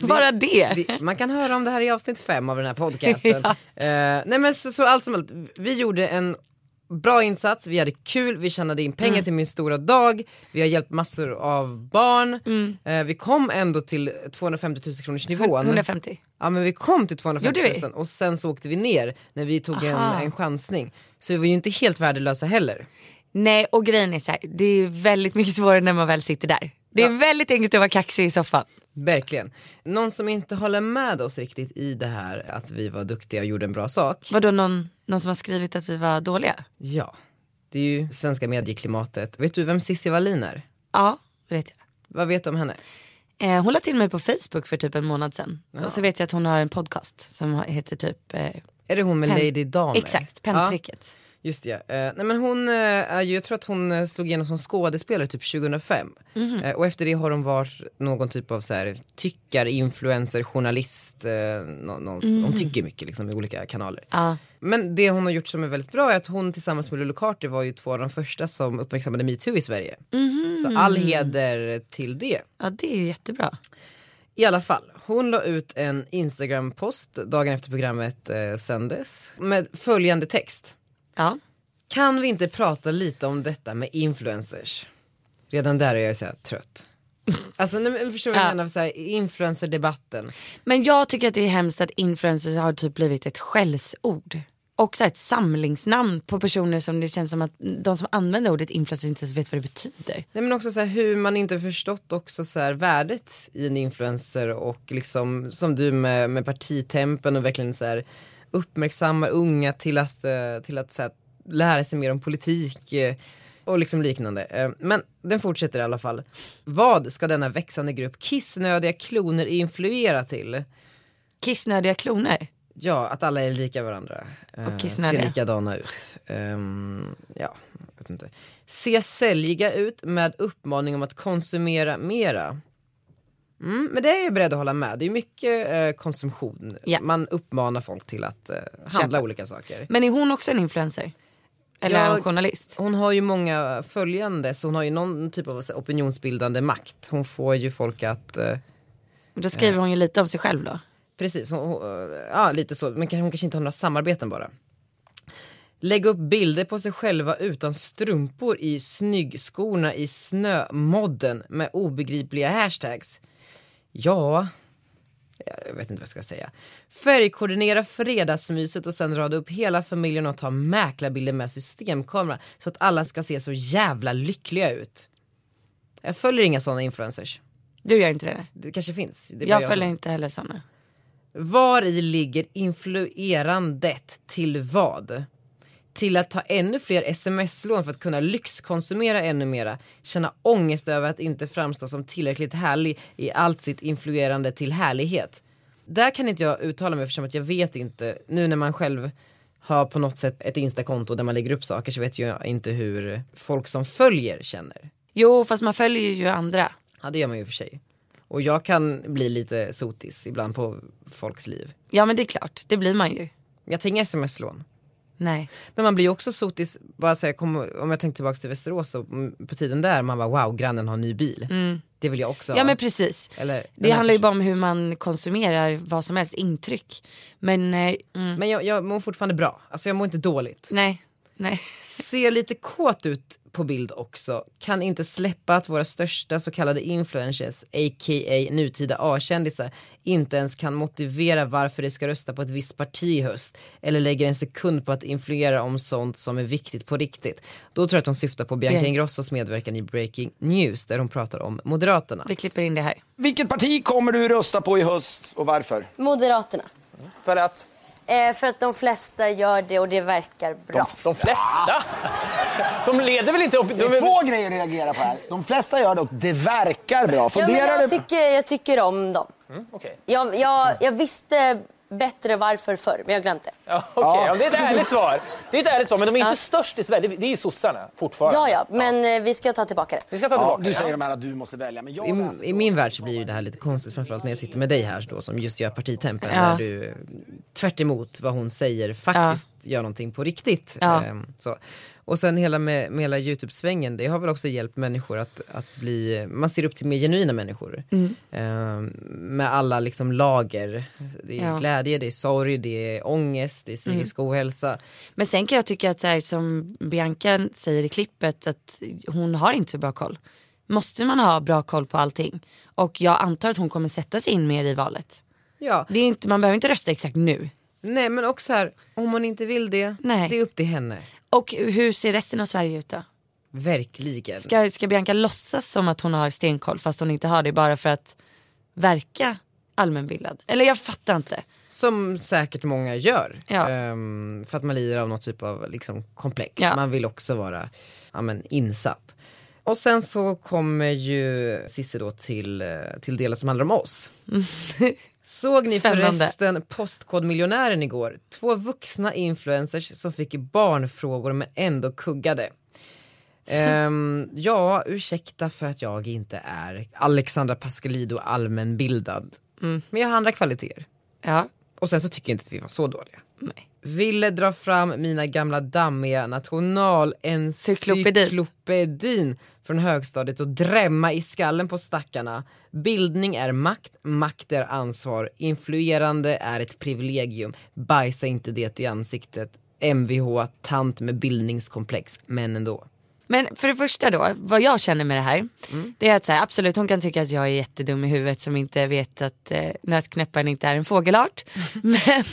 Bara det. Det, man kan höra om det här i avsnitt fem av den här podcasten. Eh, nej men så, så allt som allt, vi gjorde en bra insats, vi hade kul, vi tjänade in Mm. pengar till min stora dag, vi har hjälpt massor av barn, Mm. Eh, vi kom ändå till 250 000 kronors nivån. 150. Ja men vi kom till Gjorde 250 vi? 000 och sen så åkte vi ner när vi tog en, Aha. en chansning. Så vi var ju inte helt värdelösa heller. Nej och grejen är så här, det är väldigt mycket svårare när man väl sitter där. Det är väldigt enkelt att vara kaxig i soffan. Verkligen. Någon som inte håller med oss riktigt i det här att vi var duktiga och gjorde en bra sak. Vadå någon, någon som har skrivit att vi var dåliga? Ja, det är ju svenska medieklimatet. Vet du vem Cissi Wallin är? Ja, det vet jag. Vad vet du om henne? Eh, hon la till mig på Facebook för typ en månad sedan. Och så vet jag att hon har en podcast som heter typ eh, Är det hon med Pen- Lady Damer? Exakt, pentricket. Ja. Just det, ja. Eh, nej men hon, eh, är ju- jag tror att hon eh, slog igenom som skådespelare typ 2005. Mhm. Eh, och efter det har hon varit någon typ av så här, tyckare, influencer, journalist. Eh, nå- någon, Hon Mhm. tycker mycket liksom, i olika kanaler. Ja. Men det hon har gjort som är väldigt bra är att hon tillsammans med Lulu Carter var ju två av de första som uppmärksammade metoo i Sverige. Mhm. Så all heder till det. ja, det är ju jättebra. I alla fall, hon la ut en Instagram-post dagen efter programmet eh, sändes med följande text. Ja. Kan vi inte prata lite om detta med influencers? Redan där är jag så här trött. Alltså nej, men förstår du vad jag Ja. menar? Så här, Influencerdebatten. Men jag tycker att det är hemskt att influencers har typ blivit ett skällsord. Och så här ett samlingsnamn på personer som det känns som att de som använder ordet influencers inte ens vet vad det betyder. Nej men också så här, hur man inte förstått också så här, värdet i en influencer och liksom som du med, med partitempen och verkligen så här, uppmärksamma unga till att, eh, till att så här, lära sig mer om politik eh, och liksom liknande. Eh, Men den fortsätter i alla fall. Vad ska denna växande grupp kissnödiga kloner influera till? Kissnödiga kloner. Ja, att alla är lika varandra. Eh, Och kissnödiga. ser likadana ut. Ehm, ja, jag vet inte. Se säljiga ut med uppmaning om att konsumera mera. Mm, men det är jag beredd att hålla med. Det är mycket eh, konsumtion. Ja. Man uppmanar folk till att eh, handla olika saker. Men är hon också en influencer? Eller är Jag- hon journalist? Hon har ju många följande så hon har ju någon typ av så här opinionsbildande makt. Hon får ju folk att eh, Då skriver hon ju lite om sig själv då. Precis, hon, hon, ja, lite så. Men kanske- hon kanske inte har några samarbeten bara. Lägg upp bilder på sig själva utan strumpor i snyggskorna i snömodden med obegripliga hashtags. Ja, jag vet inte vad jag ska säga. Färgkoordinera fredagsmyset och sen rada upp hela familjen och ta mäklarbilder med systemkamera så att alla ska se så jävla lyckliga ut. Jag följer inga sådana influencers. Du gör inte det? Det kanske finns. Det är bara Jag som- följer inte heller sådana. var i ligger influerandet till vad? Till att ta ännu fler sms-lån för att kunna lyxkonsumera ännu mera, känna ångest över att inte framstå som tillräckligt härlig i allt sitt influerande till härlighet. Där kan inte jag uttala mig eftersom att jag vet inte, nu när man själv har på något sätt ett instakonto där man lägger upp saker så vet jag inte hur folk som följer känner. Jo fast man följer ju andra. Ja det gör man ju i och för sig. Och jag kan bli lite sotis ibland på folks liv. Ja men det är klart, det blir man ju. Jag tänker sms-lån. Nej. Men man blir ju också sotis, bara så här, kom, om jag tänker tillbaka till Västerås och mm, på tiden där, man bara wow grannen har en ny bil. Det vill jag också Mm. Ja ha. men precis. Eller, den Det här handlar ju personen- bara om hur man konsumerar vad som helst, intryck. Men eh, mm, Men jag, jag mår fortfarande bra, alltså jag mår inte dåligt. nej, nej. Ser lite kåt ut på bild också, kan inte släppa att våra största så kallade influencers, a.k.a. nutida A-kändisar, inte ens kan motivera varför de ska rösta på ett visst parti i höst. Eller lägger en sekund på att influera om sånt som är viktigt på riktigt. Då tror jag att hon syftar på Bianca Bianca. Ingrossos medverkan i Breaking News, där hon pratar om Moderaterna. Vi klipper in det här. Vilket parti kommer du rösta på i höst och varför? Moderaterna. För att? Eh, för att de flesta gör det och det verkar bra. De flesta? De leder väl inte... Det är två grejer du reagerar på här. De flesta gör dock det verkar bra. Ja, men Funderar jag, du... tycker, jag tycker om dem. Okej, Jag, jag, jag visste bättre varför förr, men jag glömde. ja, okej. Ja, det är ett ärligt svar. Det är ett ärligt svar, men de är inte störst i Sverige. Det- Det är ju sossarna fortfarande. Ja, ja, men eh, vi ska ta tillbaka det. Vi ska ta Ja, tillbaka du det. säger de här att du måste välja, men Mm. jag I, läser. I min värld så blir ju det här lite konstigt, framförallt när jag sitter med dig här då, som just gör partitempen. Ja. Där du eh, tvärt emot vad hon säger faktiskt gör någonting på riktigt. Ja. Ehm, så. Och sen hela med, med hela Youtube-svängen, det har väl också hjälpt människor att, att bli, man ser upp till mer genuina människor. Mm. Ehm, med alla liksom lager, det är Ja. Mm. glädje, det är sorg, det är ångest, det är psykisk ohälsa. Men sen kan jag tycka att så här, som Bianca säger i klippet att hon har inte så bra koll. Måste man ha bra koll på allting? Och jag antar att hon kommer sätta sig in mer i valet. Ja. Det är inte, man behöver inte rösta exakt nu. Nej men också här, om hon inte vill det, Nej. det är upp till henne. Och hur ser resten av Sverige ut då? Verkligen. Ska, ska Bianca låtsas som att hon har stenkoll fast hon inte har det bara för att verka allmänbildad? Eller jag fattar inte. Som säkert många gör. Ja. Ehm, för att man lider av något typ av liksom, komplex. Ja. Man vill också vara ja, men, insatt. Och sen så kommer ju Cissi då till, eh, till delen som handlar om oss. Såg ni Mm. Spännande. förresten Postkodmiljonären igår? Två vuxna influencers som fick barnfrågor men ändå kuggade. Ehm, ja, ursäkta för att jag inte är Alexandra Pascalido allmänbildad. Mm. Men jag har andra kvaliteter. Ja. Och sen så tycker jag inte att vi var så dåliga. Nej. Ville dra fram mina gamla dammiga nationalencyklopedin från högstadiet och drämma i skallen på stackarna. Bildning är makt, makt är ansvar, influerande är ett privilegium. Bajsa inte det i ansiktet. Mvh, tant med bildningskomplex, men ändå. Men för det första då, vad jag känner med det här. Det är att så här, absolut hon kan tycka att jag är jättedum i huvudet som inte vet att eh, nötknäpparen inte är en fågelart.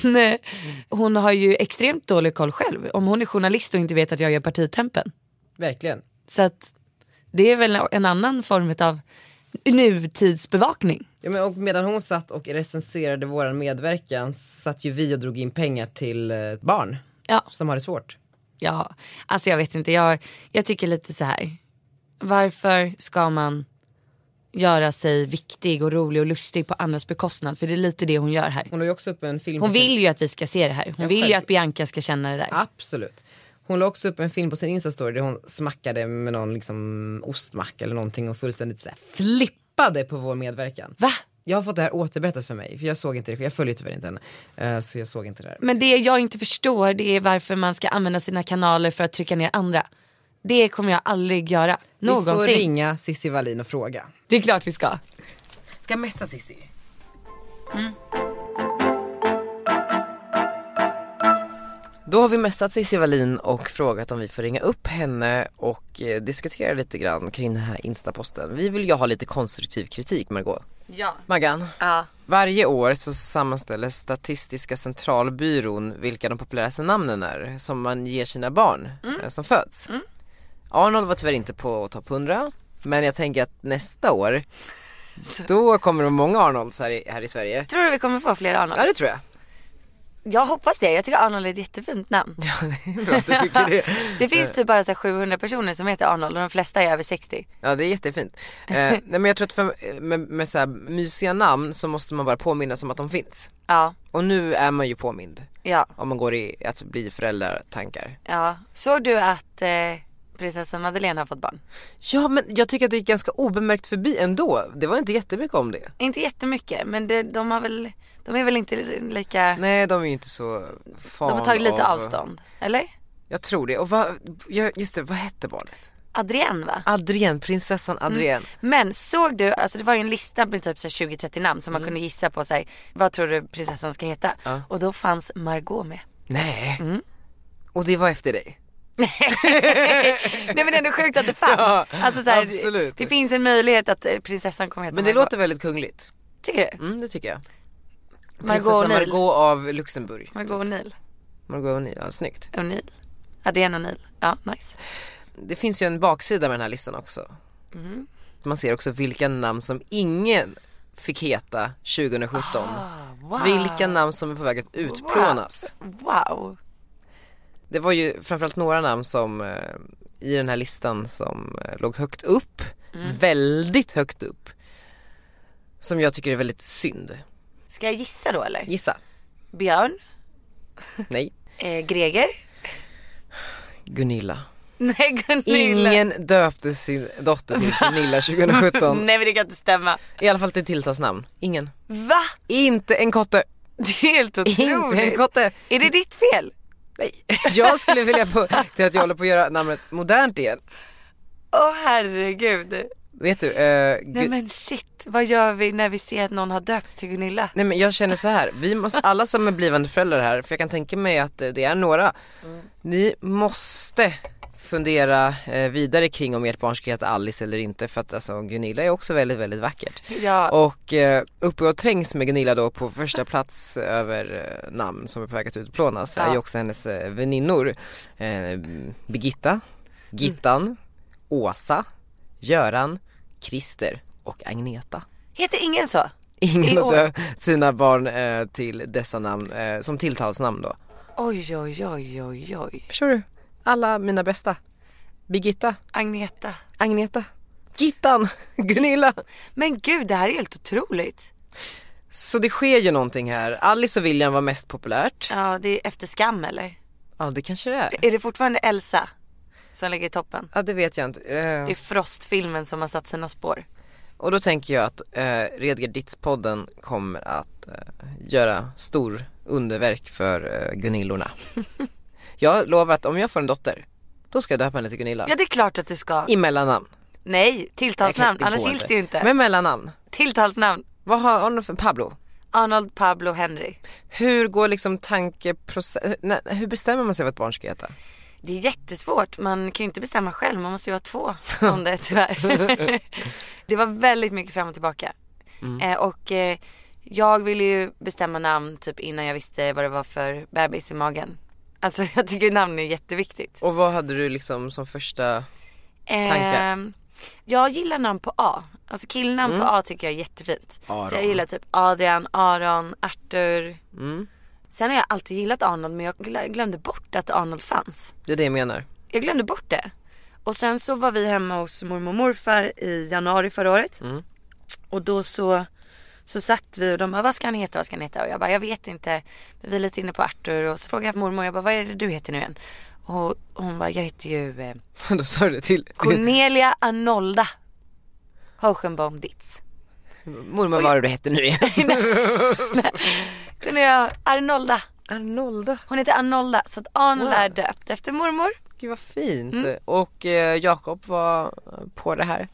Men eh, hon har ju extremt dålig koll själv. Om hon är journalist och inte vet att jag gör partitempen. Verkligen. Så att det är väl en annan form av nutidsbevakning. Ja, men och medan hon satt och recenserade våran medverkan satt ju vi och drog in pengar till eh, barn Ja. som har det svårt. Ja, alltså jag vet inte. Jag, jag tycker lite så här. Varför ska man göra sig viktig och rolig och lustig på andras bekostnad? För det är lite det hon gör här. Hon la ju också upp en film. Hon på sin- vill ju att vi ska se det här. Hon vill ju självklart. att Bianca ska känna det där. Absolut. Hon la också upp en film på sin Insta-story där hon smackade med någon liksom ostmacka eller någonting och fullständigt så här flippade på vår medverkan. Va? Jag har fått det här återberättat för mig, för jag såg inte det, för jag följer tyvärr inte henne. Eh, så jag såg inte det där. Men det jag inte förstår det är varför man ska använda sina kanaler för att trycka ner andra. Det kommer jag aldrig göra. Vi får Någonsin. ringa Cissi Wallin och fråga. Det är klart vi ska. Ska jag messa Cissi? Mm. Då har vi messat Cissi Wallin och frågat om vi får ringa upp henne och eh, diskutera lite grann kring den här Instaposten. Vi vill ju ha lite konstruktiv kritik Margot. Ja. Maggan, Ja. varje år så sammanställer Statistiska centralbyrån vilka de populäraste namnen är som man ger sina barn Mm. eh, som föds. Arnold var tyvärr inte på topp 100 men jag tänker att nästa år då kommer det många Arnolds här i, här i Sverige. Tror du vi kommer få fler Arnold? Ja det tror jag. Jag hoppas det. Jag tycker Arnold är ett jättefint namn. Ja det är bra att du tycker det. Det finns typ bara så här 700 personer som heter Arnold och de flesta är över 60. Ja det är jättefint. Eh, nej men jag tror att för, eh, med, med så här mysiga namn så måste man bara påminnas om att de finns. Ja, Och nu är man ju påmind ja, om man går i att bli föräldratankar. ja. Såg du att eh, prinsessan Madeleine har fått barn? Ja men jag tycker att det gick ganska obemärkt förbi ändå. Det var inte jättemycket om det. Inte jättemycket men det, de har väl, de är väl inte lika, Nej de är ju inte så fan de har tagit lite av- avstånd. Eller? Jag tror det. Och vad, ja, just det, vad hette barnet? Mm. Adrienne va? Adrienne, prinsessan Adrienne. Men såg du, alltså det var ju en lista med typ så här 20-30 namn som Mm. man kunde gissa på sig. vad tror du prinsessan ska heta? Och då fanns Margot med. Nej. Och det var efter dig. Nej men det är ändå sjukt att det fanns. Ja, alltså så här, absolut. Det, det finns en möjlighet att eh, prinsessan kommer heta Men det Margot. låter väldigt kungligt. Tycker du? Mm det tycker jag. Margot Prinsessan O'Neill. Margot av Luxemburg. Margot O'Neill. Margot O'Neill, ja, snyggt. O'Neill. Adrienne O'Neill. Ja, nice. Det finns ju en baksida med den här listan också. Mhm. Man ser också vilka namn som ingen fick heta 2017. Ah, Vilka namn som är på väg att utplånas. Wow. Det var ju framförallt några namn som eh, i den här listan som eh, låg högt upp, Mm. väldigt högt upp. Som jag tycker är väldigt synd. Ska jag gissa då eller? Gissa. Björn. Nej. Eh, Greger. Gunilla. Nej, Gunilla. Ingen döpte sin dotter till Gunilla 2017. Nej men det kan inte stämma. I alla fall till tilltalsnamn. Ingen. Va? Inte en kotte. Det är helt Inte en otroligt. kotte. Är det ditt fel? Nej. Jag skulle vilja på, till att jag håller på att göra namnet modernt igen. Åh herregud. Vet du, eh, Nej Gu- men shit, vad gör vi när vi ser att någon har döpts till Gunilla? Nej men jag känner så här, vi måste, alla som är blivande föräldrar här, för jag kan tänka mig att eh, det är några, Mm. ni måste fundera eh, vidare kring om ert barn ska heta Alice eller inte för att alltså Gunilla är också väldigt, väldigt vackert. Ja. Och eh, uppe och trängs med Gunilla då på första plats över eh, namn som är på väg att utplånas är ju också hennes eh, väninnor. Eh, Birgitta, Gittan, Åsa, Göran, Christer och Agneta. Heter ingen så? I Ingen år. av dö- sina barn eh, till dessa namn, eh, som tilltalsnamn då. Oj, oj, oj, oj, oj. Förstår du? Alla mina bästa. Birgitta, Agneta. Agneta, Gittan, Gunilla. Men gud, det här är helt otroligt. Så det sker ju någonting här. Alice och William var mest populärt. Ja, det är efter skam eller? Ja det kanske det är. Är det fortfarande Elsa som ligger i toppen? Ja det vet jag inte. Eh, Det är Frost-filmen som har satt sina spår. och då tänker jag att eh, Redger Ditz-podden kommer att eh, göra stor underverk för eh, Gunillorna. jag lovar att om jag får en dotter, då ska jag döpa henne till Gunilla. Ja, det är klart att du ska. I mellannamn. Nej, Jag kan tilltalsnamn. inte Annars gå gills över. det ju inte. Men mellannamn. Tilltalsnamn. Vad har hon för Pablo? Arnold, Pablo, Henry. Hur går liksom tankeprocessen, nej, hur bestämmer man sig vad ett barn ska heta? Det är jättesvårt, man kan ju inte bestämma själv, man måste ju vara två om det tyvärr. det var väldigt mycket fram och tillbaka. Mm. Eh, och eh, jag ville ju bestämma namn typ innan jag visste vad det var för bebis i magen. Alltså jag tycker namn är jätteviktigt. Och vad hade du liksom som första, Tankar? Eh, jag gillar namn på A. Alltså killnamn på A tycker jag är jättefint. Så jag Aron. gillar typ Adrian, Aron, Arthur. Sen har jag alltid gillat Arnold men jag glö- glömde bort att Arnold fanns. det är det jag menar. Jag glömde bort det. Och sen så var vi hemma hos mormor och morfar i januari förra året. Och då så, så satt vi och de bara, vad ska han heta, vad ska han heta? Och jag bara, jag vet inte. Men vi är lite inne på Arthur och så frågade jag mormor, jag bara, vad är det du heter nu igen? Och hon bara, jag heter ju eh, då sa du det till Cornelia Arnolda Hohenbaum Ditz. mormor vad var det du hette nu igen? Cornelia Arnolda. Arnolda, Hon heter Arnolda. Så att Arnold Wow. är döpt efter mormor. gud vad fint. Och eh, Jakob var på det här.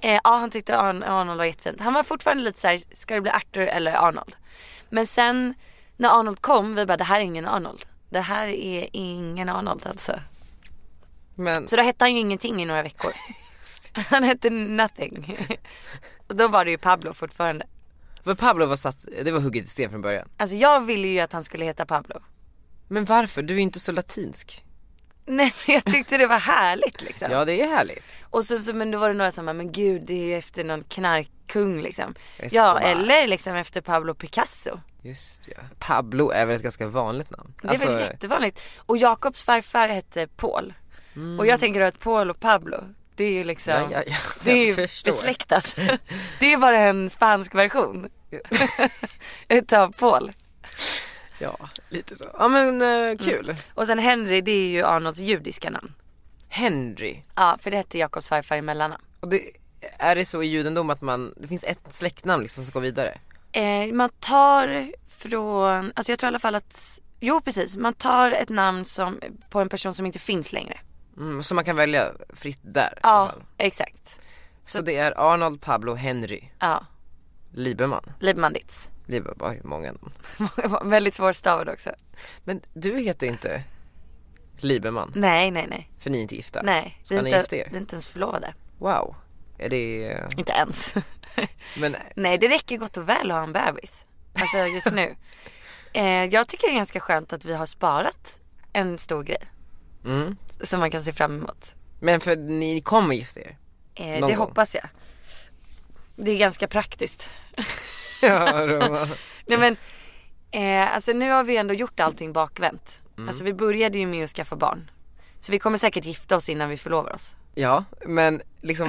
Eh, ja han tyckte Arn- Arnold var jättefint. Han var fortfarande lite såhär, ska det bli Arthur eller Arnold? Men sen när Arnold kom, vi bara det här är ingen Arnold. Det här är ingen Arnold alltså. Men Så då hette han ju ingenting i några veckor. han hette nothing. Och då var det ju Pablo fortfarande. för Pablo var satt, det var hugget i sten från början. Alltså jag ville ju att han skulle heta Pablo. Men varför? Du är inte så latinsk. Nej men jag tyckte det var härligt liksom. Ja det är härligt. Och så, så, men då var det några som bara, men gud det är ju efter någon knarkkung liksom. Ja Escobar. eller liksom efter Pablo Picasso. Just ja. Pablo är väl ett ganska vanligt namn? Alltså, Det är väl jättevanligt. Och Jakobs farfar hette Paul. Och jag tänker att Paul och Pablo, det är ju liksom, Mm. Ja, ja, ja, det är ju jag förstår. besläktat. Det är bara en spansk version utav Paul. Ja, lite så. Ja men eh, kul. Och sen Henry, det är ju Arnolds judiska namn. Henry. Ja, för det hette Jakobs farfar i mellannamn. Och det, är det så i judendom att man, det finns ett släktnamn liksom som går vidare? Eh, man tar från, alltså jag tror i alla fall att, jo precis, man tar ett namn som, på en person som inte finns längre. Mm, så man kan välja fritt där? i alla Ja, fall. exakt. Så det är Arnold, Pablo, Henry, Ja, Lieberman. Liebmanditz. Lieberman var ju många namn. Väldigt svårstavad också. Men du heter inte Lieberman, Nej, nej, nej. för ni är inte gifta? Nej, Ska vi är, ni inte, gifta er? vi är inte ens förlovade. Wow. Är det, eh, Inte ens. men nej, det räcker gott och väl att ha en bebis. Alltså just nu. eh, jag tycker det är ganska skönt att vi har sparat en stor grej. Mm. Som man kan se fram emot. Men för ni kommer gifta er? Eh, det Någon gång. hoppas jag. Det är ganska praktiskt. Ja, det var- Nej men, eh, alltså nu har vi ändå gjort allting bakvänt. Mm. Alltså vi började ju med att skaffa barn. Så vi kommer säkert gifta oss innan vi förlovar oss. ja, men liksom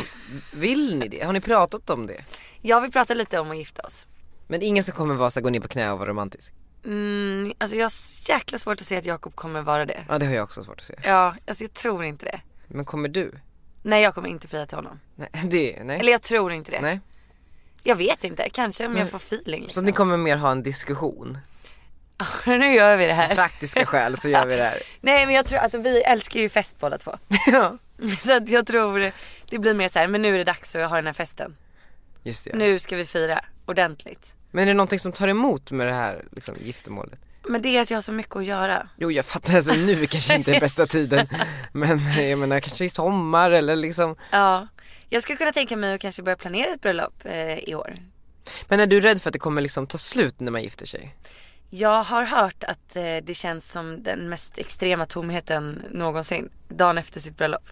vill ni det? Har ni pratat om det? Jag vill prata lite om att gifta oss. Men ingen som kommer vara så här, gå ner på knä och vara romantisk? Mm, alltså jag har så jäkla svårt att se att Jakob kommer vara det. Ja det har jag också svårt att se. Ja, alltså jag tror inte det. Men kommer du? Nej jag kommer inte fria till honom. Nej, det, nej. Eller jag tror inte det. nej. Jag vet inte, kanske om jag får feeling Så liksom. att ni kommer mer ha en diskussion? Nu gör vi det här. Praktiska skäl så gör vi det här. Nej men jag tror, alltså vi älskar ju fest båda två. Ja. Så att jag tror det blir mer så här, men nu är det dags att ha den här festen. Just det. Nu ska vi fira ordentligt. Men är det någonting som tar emot med det här liksom, giftermålet? Men det är att jag har så mycket att göra. Jo jag fattar, alltså, nu kanske inte är bästa tiden. Men eh, jag menar kanske i sommar eller liksom. Ja, jag skulle kunna tänka mig att kanske börja planera ett bröllop eh, i år. Men är du rädd för att det kommer liksom ta slut när man gifter sig? Jag har hört att eh, det känns som den mest extrema tomheten någonsin dagen efter sitt bröllop.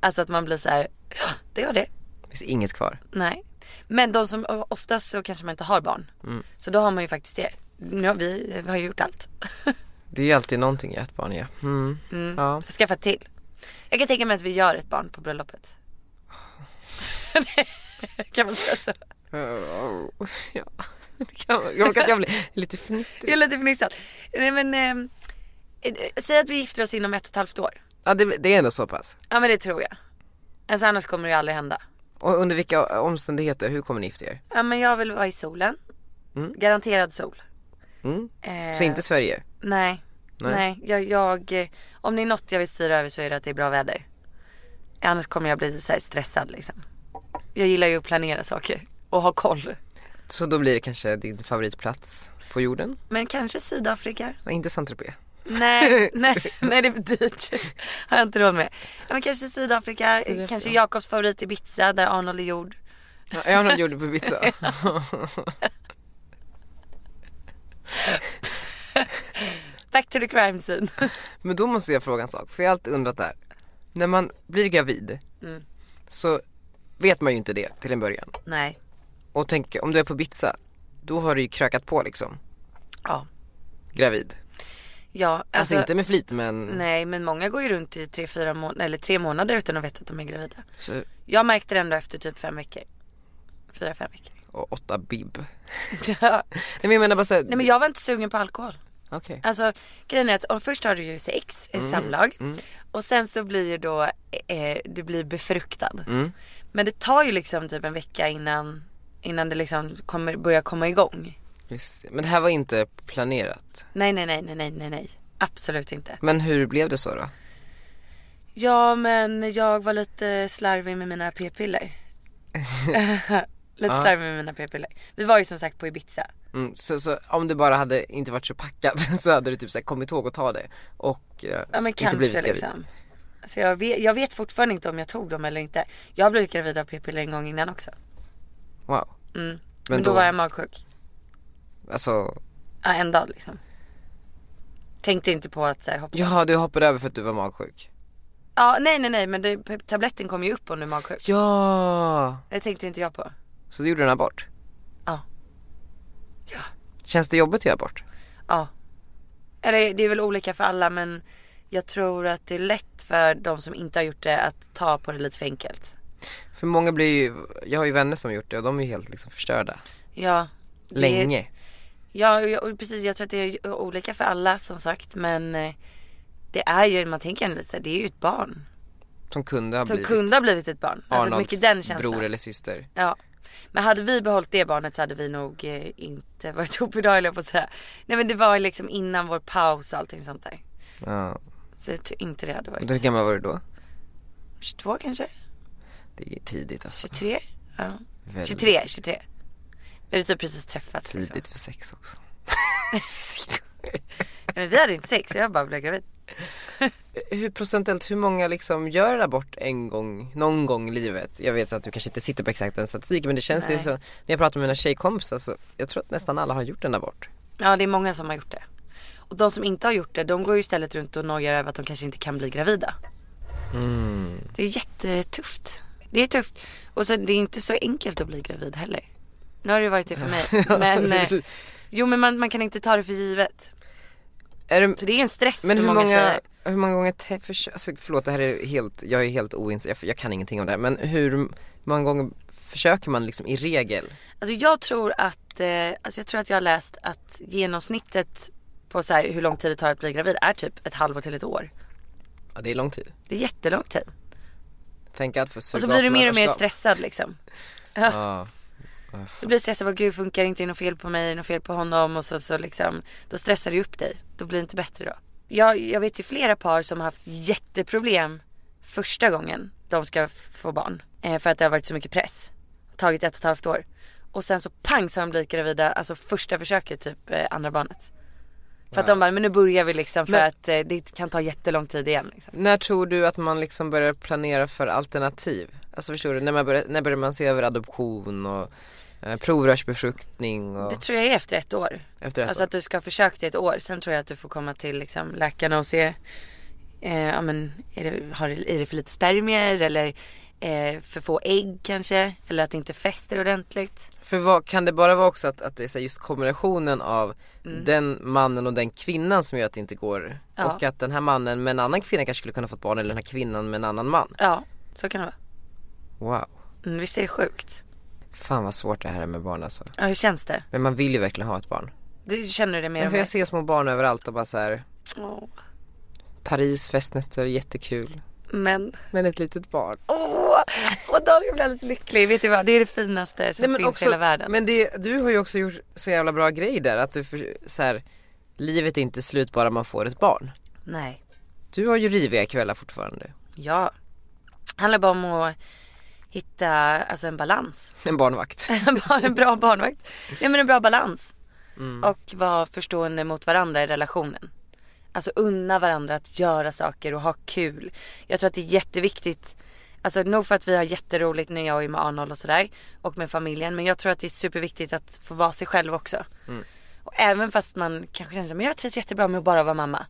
Alltså att man blir så här, "Ja, det var det. Det finns inget kvar. Nej. Men de som, oftast så kanske man inte har barn. Så då har man ju faktiskt det. Ja, vi, vi har ju gjort allt. Det är ju alltid någonting i ett barn ja. Mm. ja. Skaffat till. Jag kan tänka mig att vi gör ett barn på bröllopet. kan man säga så? Ja. Det kan, jag orkar att jag blir lite fnittrig. Jag är lite fnissad. Nej men, ehm, eh, säg att vi gifter oss inom ett och ett halvt år. Ja, det, det är ändå så pass. Ja men det tror jag. Alltså annars kommer det ju aldrig hända. Och under vilka omständigheter, hur kommer ni gifta er? Ja men jag vill vara i solen. Garanterad sol. Eh, Mm. Så inte Sverige? Nej. Nej, jag, jag, eh, om det är något jag vill styra över så är det att det är bra väder. Annars kommer jag bli så här stressad liksom. Jag gillar ju att planera saker och ha koll. Så då blir det kanske din favoritplats på jorden? Men kanske Sydafrika? Ja, inte Saint-Tropez. Nej, nej, nej det är för dyrt. Har jag inte råd med. Ja, men kanske Sydafrika, kanske Jakobs favorit Ibiza där Arnold är gjord. Ja, jag har någon jord på Ibiza. Back to the crime scene. Men då måste jag fråga en sak, för jag har alltid undrat det här. När man blir gravid Mm. så vet man ju inte det till en början. Nej, Och tänk om du är på Ibiza, då har du ju krökat på liksom. ja. Gravid. Ja, Alltså, inte med flit men Nej men många går ju runt i tre, fyra månader, eller tre månader utan att veta att de är gravida. så, Jag märkte det ändå efter typ fem veckor. Fyra, fem veckor. och åtta bib. Ja. Nej men jag menar bara såhär, Nej men jag var inte sugen på alkohol. okej. Alltså grejen är att och först har du ju sex, mm. samlag. Och sen så blir ju då, eh, du blir befruktad. Mm. Men det tar ju liksom typ en vecka innan, innan det liksom kommer, börjar komma igång. Just det. Men det här var inte planerat. Nej nej nej nej nej nej nej. Absolut inte. Men hur blev det så då? Ja men jag var lite slarvig med mina p-piller. lite slarvig med mina p-piller. Vi var ju som sagt på Ibiza. Mm, så, så om du bara hade inte varit så packad så hade du typ såhär kommit ihåg att ta det och eh, Ja men inte blivit kanske gravid. liksom. Alltså jag, vet, jag vet fortfarande inte om jag tog dem eller inte. Jag har blivit gravid av p-piller en gång innan också. Wow. Mm. Men, Men då, då- var jag magsjuk. Alltså, Ja, en dag liksom. Tänkte inte på att så här, hoppa. Ja. jaha du hoppade över för att du var magsjuk. nej nej nej men det, p- tabletten kom ju upp om du är magsjuk. Ja! Det tänkte inte jag på. Så du gjorde en abort? Ja. Känns det jobbigt att göra abort? Ja. Eller det är väl olika för alla men jag tror att det är lätt för de som inte har gjort det att ta på det lite för enkelt. För många blir ju, jag har ju vänner som har gjort det och de är ju helt liksom förstörda. Ja. det- Länge. Ja, jag- precis. Jag tror att det är olika för alla som sagt. Men eh, det är ju, man tänker ändå lite så här, det är ju ett barn. Som kunde ha Som blivit kunde ha blivit ett barn. alltså Arnolds mycket den känslan. bror eller syster. Ja. Men hade vi behållit det barnet så hade vi nog eh, inte varit ihop idag eller jag på att säga. Nej men det var liksom innan vår paus och allting sånt där. Ja. Så jag tror inte det hade Och då, hur varit. gammal var du då? 22 kanske? Det är tidigt alltså. 23? Ja. Väldigt 23, 23. Vi hade typ precis träffats liksom. Tidigt för sex också. Men vi hade inte sex, jag bara blev gravid. Hur procentuellt, hur många liksom gör abort en gång, någon gång i livet? Jag vet att du kanske inte sitter på exakt den statistiken men det känns ju Nej. så. När jag pratar med mina tjejkompisar så, jag tror att nästan alla har gjort en abort. Ja det är många som har gjort det. Och de som inte har gjort det de går ju istället runt och nojar över att de kanske inte kan bli gravida. Mm. Det är jättetufft. Det är tufft. Och så det är inte så enkelt att bli gravid heller. Nu har det ju varit det för mig. Men, eh, precis. jo men man, man kan inte ta det för givet. Är det, Typ Så det är en stress Men för hur många, många, tjejer. hur många gånger te- försök, alltså, förlåt det här är helt, jag är helt oinsatt, jag, jag kan ingenting om det här men hur många gånger försöker man liksom i regel? Alltså jag tror att, eh, alltså jag tror att jag har läst att genomsnittet på så här, hur lång tid det tar att bli gravid är typ ett halvår till ett år. Ja det är lång tid. Det är jättelång tid. Typ Tänk att få Och så blir du mer och mer stressad liksom. Ja, Du blir stressad, vad gud funkar inte, är det något fel på mig, är det något fel på honom och så, så liksom, då stressar du upp dig. Då blir det inte bättre då. Jag, jag vet ju flera par som har haft jätteproblem första gången de ska f- få barn. Eh, för att det har varit så mycket press. Tagit ett och ett halvt år. Och sen så pang så har de blivit gravida, alltså första försöket typ eh, andra barnet. För att de bara, men nu börjar vi liksom för Men- att eh, det kan ta jättelång tid igen. Liksom. När tror du att man liksom börjar planera för alternativ? Alltså förstår du, när, man börjar, när börjar man se över adoption och eh, provrörsbefruktning och Det tror jag är efter ett år. efter ett Alltså år? att du ska ha försökt i ett år. Sen tror jag att du får komma till liksom, läkarna och se. Eh, ja men är det, har, det- är det för lite spermier eller eh, för få ägg kanske. Eller att det inte fäster ordentligt. För vad, kan det bara vara också att, att det är så här just kombinationen av den mannen och den kvinnan som gör att det inte går Mm. Ja. och att den här mannen med en annan kvinna kanske skulle kunna fått barn eller den här kvinnan med en annan man. Ja, så kan det vara. Wow. Mm, visst är det sjukt? Fan vad svårt det här är med barn alltså. Ja, hur känns det? Men man vill ju verkligen ha ett barn. Du känner det mer och Alltså mer? jag ser små barn överallt och bara så här Åh, Paris, festnätter, jättekul. men, Men ett litet barn. åh, och Daniel blir alldeles lycklig. Vet du vad, det är det finaste som Nej, men, finns i också, hela världen. men det, du har ju också gjort så jävla bra grej där att du för, så här, livet är inte slut bara man får ett barn. Nej, Du har ju riviga kvällar fortfarande. ja. Handlar bara om att hitta alltså, en balans. En barnvakt. Bara en bra barnvakt. Nej men en bra balans. Mm. Och vara förstående mot varandra i relationen. Alltså unna varandra att göra saker och ha kul. Jag tror att det är jätteviktigt. Alltså nog för att vi har jätteroligt när jag är med Arnold och sådär. Och med familjen. Men jag tror att det är superviktigt att få vara sig själv också. Mm. Och även fast man kanske känner sig, men jag trivs jättebra med att bara vara mamma.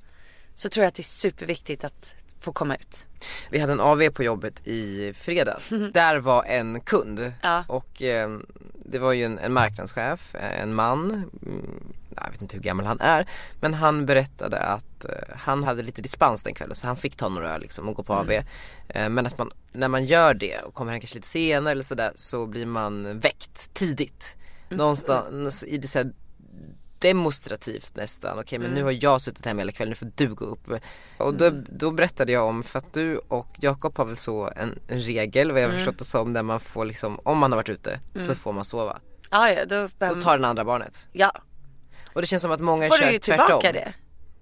Så tror jag att det är superviktigt att få komma ut. Vi hade en AV på jobbet i fredags. Där var en kund Ja. och eh, det var ju en, en marknadschef, eh, en man. Mm, Jag vet inte hur gammal han är men han berättade att eh, han hade lite dispens den kvällen så han fick ta några öl liksom och gå på AV. Eh, men att man, när man gör det och kommer hem kanske lite senare eller sådär så blir man väckt tidigt. Någonstans i det så här, demonstrativt nästan. Okej men nu har jag suttit hemma hela kvällen, nu får du gå upp. Och då, då berättade jag om, för att du och Jakob har väl så en, en regel vad jag har förstått det som där man får liksom, om man har varit ute så får man sova. Ja, ja, då, Då behöver- tar den andra barnet. ja. Och det känns som att många får kör du ju tvärtom. tillbaka det.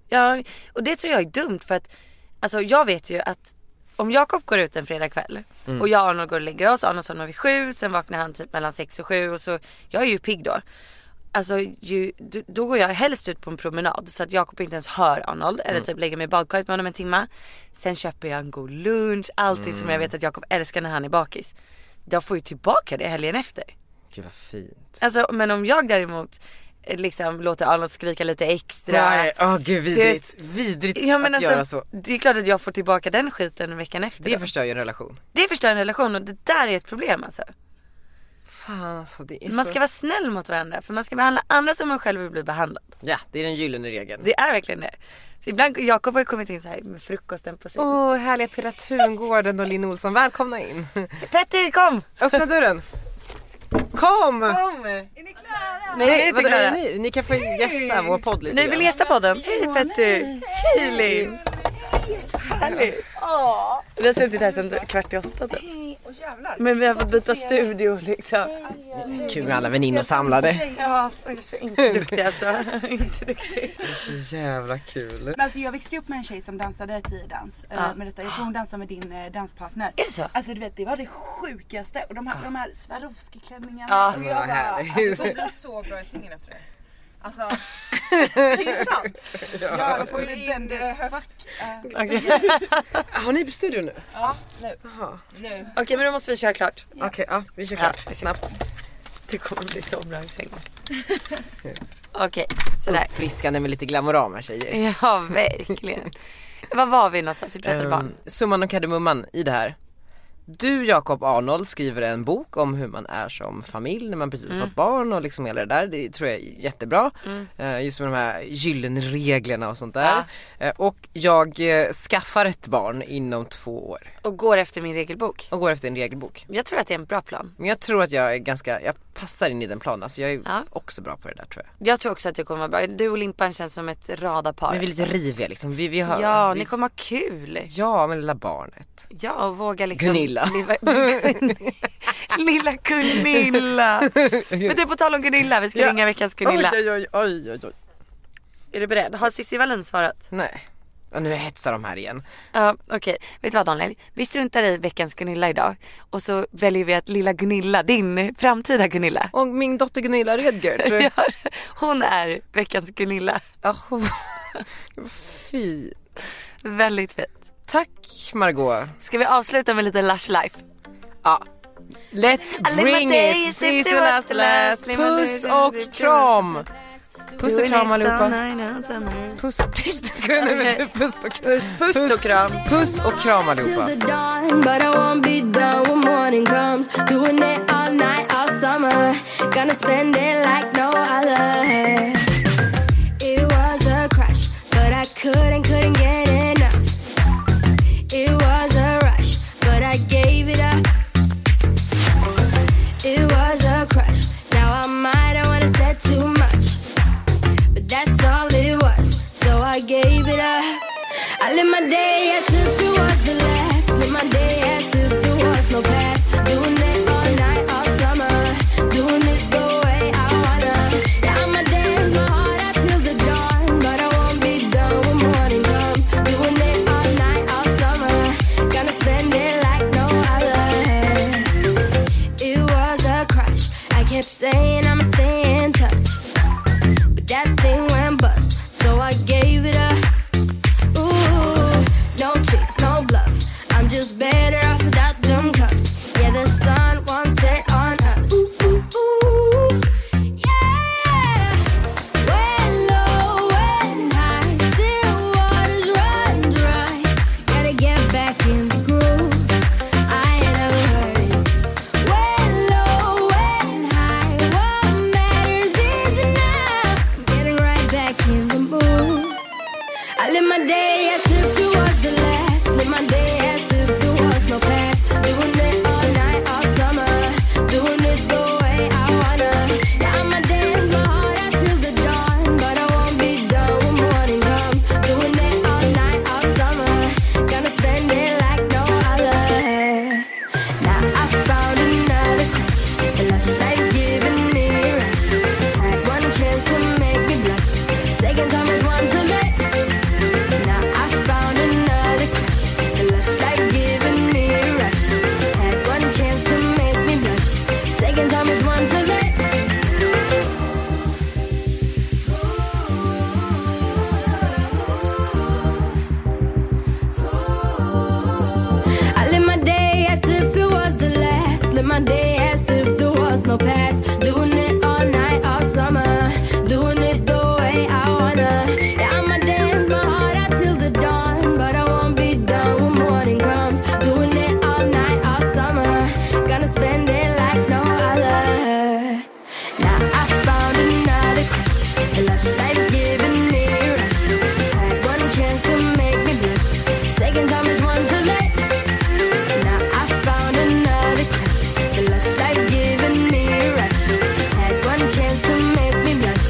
Ja, och det tror jag är dumt för att alltså jag vet ju att om Jakob går ut en fredagkväll Mm. och jag och Arnold går och lägger oss, Arnold somnar vid sju, sen vaknar han typ mellan sex och sju och så, jag är ju pigg då. Alltså ju, d- då går jag helst ut på en promenad så att Jakob inte ens hör Arnold Mm. eller typ lägger mig i badkaret med honom en timma. Sen köper jag en god lunch, allting som Mm. jag vet att Jakob älskar när han är bakis. Jag får ju tillbaka det helgen efter. Gud vad fint. Alltså men om jag däremot eh, liksom låter Arnold skrika lite extra. Nej, åh gud vidrigt. Vidrigt Ja, men att alltså, göra så. Det är klart att jag får tillbaka den skiten veckan efter. Det Det, förstör ju en relation. det förstör en relation och det där är ett problem alltså. Fan alltså det är Man så... ska vara snäll mot varandra för man ska behandla andra som man själv vill bli behandlad. Ja, det är den gyllene regeln. Det är verkligen det. Så ibland, Jakob har ju kommit in så här med frukosten på sig. Åh, härliga Pira Tungården och Linn Olsson, välkomna in. Petter kom! Öppna dörren. Kom! Kom! Är ni klara? Nej, vi är Nej, inte vadå, är klara. det ni? ni kan få gästa vår podd lite Ni vill grann. gästa podden? Hej Petter! Hej Linn! Härligt! Vi har suttit här sedan kvart i åtta typ. Men vi har fått byta studio liksom. Kul med alla väninnor samlade. Ja, så, så inte duktig alltså. inte duktig. Så jävla kul. Men alltså jag växte upp med en tjej som dansade tiodans ja. med detta. Jag tror hon dansade med din eh, danspartner. Är det så? Alltså du vet det var det sjukaste och de här, de här Swarovski-klänningarna. Ja. och Men vad jag bara, härligt. alltså, jag blev så bra i singeln efter det. Alltså det är sant. Ja, de får ju in det fuck. eh, Har ni studio nu? Ja nu. Nu. Okej men då måste vi köra klart. Okej, ja vi kör Ja, klart. vi kör Snabbt. Det kommer bli så bra i sängen. Okej, sådär. Uppfriskande med lite glamorama tjejer. Ja verkligen. Var var vi någonstans? Vi pratade barn. Ehm, summan och kardemumman i det här. Du Jakob Arnold skriver en bok om hur man är som familj när man precis fått barn och liksom hela det där. Det tror jag är jättebra. Eh, Just med de här gyllene reglerna och sånt där. Eh, Och jag eh, skaffar ett barn inom två år Och går efter min regelbok. och går efter en regelbok. Jag tror att det är en bra plan. Men jag tror att jag är ganska, jag passar in i den planen. Alltså jag är Ja. också bra på det där tror jag. Jag tror också att det kommer vara bra. Du och Limpan känns som ett radarpar. Men vi är lite riviga liksom. Vi, vi har, Ja, vi, ni kommer ha kul. ja men lilla barnet. Ja, och våga liksom. Gunilla. Lilla, Lilla Gunilla. Men du, på tal om Gunilla, vi ska Ja. ringa veckans Gunilla. Oj, oj, oj, oj, oj. Är du beredd? Har Cissi Wallin svarat? Nej. Och nu hetsar de här igen. Ja, okej. Vet du vad Daniel? Vi struntar i veckans Gunilla idag och så väljer vi att lilla Gunilla, din framtida Gunilla. Och min dotter Gunilla Vi Redgert. har- Hon är veckans Gunilla. Ja, hon- Vad Fy. Väldigt fint. Tack Margot. Ska vi avsluta med lite Lush Life? Ja. Let's bring it! Season as last. Puss och kram! Puss och kram allihopa. Puss. Tyst, ska jag nu med puss och kram. Puss, puss och kram. Puss och kram allihopa. dawn, but I won't be done when morning comes. Doing it all night, all summer. Gonna spend it like no other. It was a crush, but I couldn't, couldn't get enough. It was a rush, but I gave it up. It was a crush. Now I might have wanna said too much, but that's all it was. So I gave it up. I live my day as if it was the last. Live my day as if there was no past. Doing it all night, all summer. Doing it the way I wanna. Yeah, I'ma dance my heart out till the dawn, but I won't be done when morning comes. Doing it all night, all summer. Gonna spend it like no other. It was a crush. I kept saying I'ma stay in touch, but that thing went bust, so I gave it up. Ooh, no tricks, no bluff. I'm just better off without them cups. Yeah, the sun won't set on us. Ooh, ooh, ooh. Yeah. When low, when high, still waters run dry. Gotta get back in the groove. I ain't never hurting. When low, when high, what matters is enough. Getting right back in the mood. I live my day as if it was the last. Live my day as if there was no past. Doing it all night, all summer. Doing it the way I wanna. Yeah, I'ma dance my heart out till the dawn, but I won't be done when morning comes. Doing it all night, all summer. Gonna spend it like no other. Now I found another crush. The lush life giving me a rush. Had one chance to make me blush. Second time is one too late. Now I found another crush. The lush life giving me a rush. Had one chance to make me blush. Second time is one too late. I live my day as if it was the last. Live my day as if there was no past. Doing it all night, all summer. Doing it the way I wanna. Yeah, I'ma dance my heart out till the dawn. But I won't be done when morning comes. Doing it all night, all summer. Gonna spend it like no other. Now I found another crush. A lush life giving me a rush. Had one chance to make me blush. Second time is one too late. Now I found another crush. The lush life giving me a rush. Had one chance to make me blush.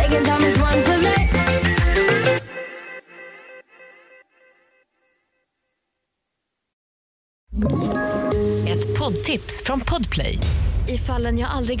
Second time is one too late. Ett poddtips från Podplay. I fallen jag aldrig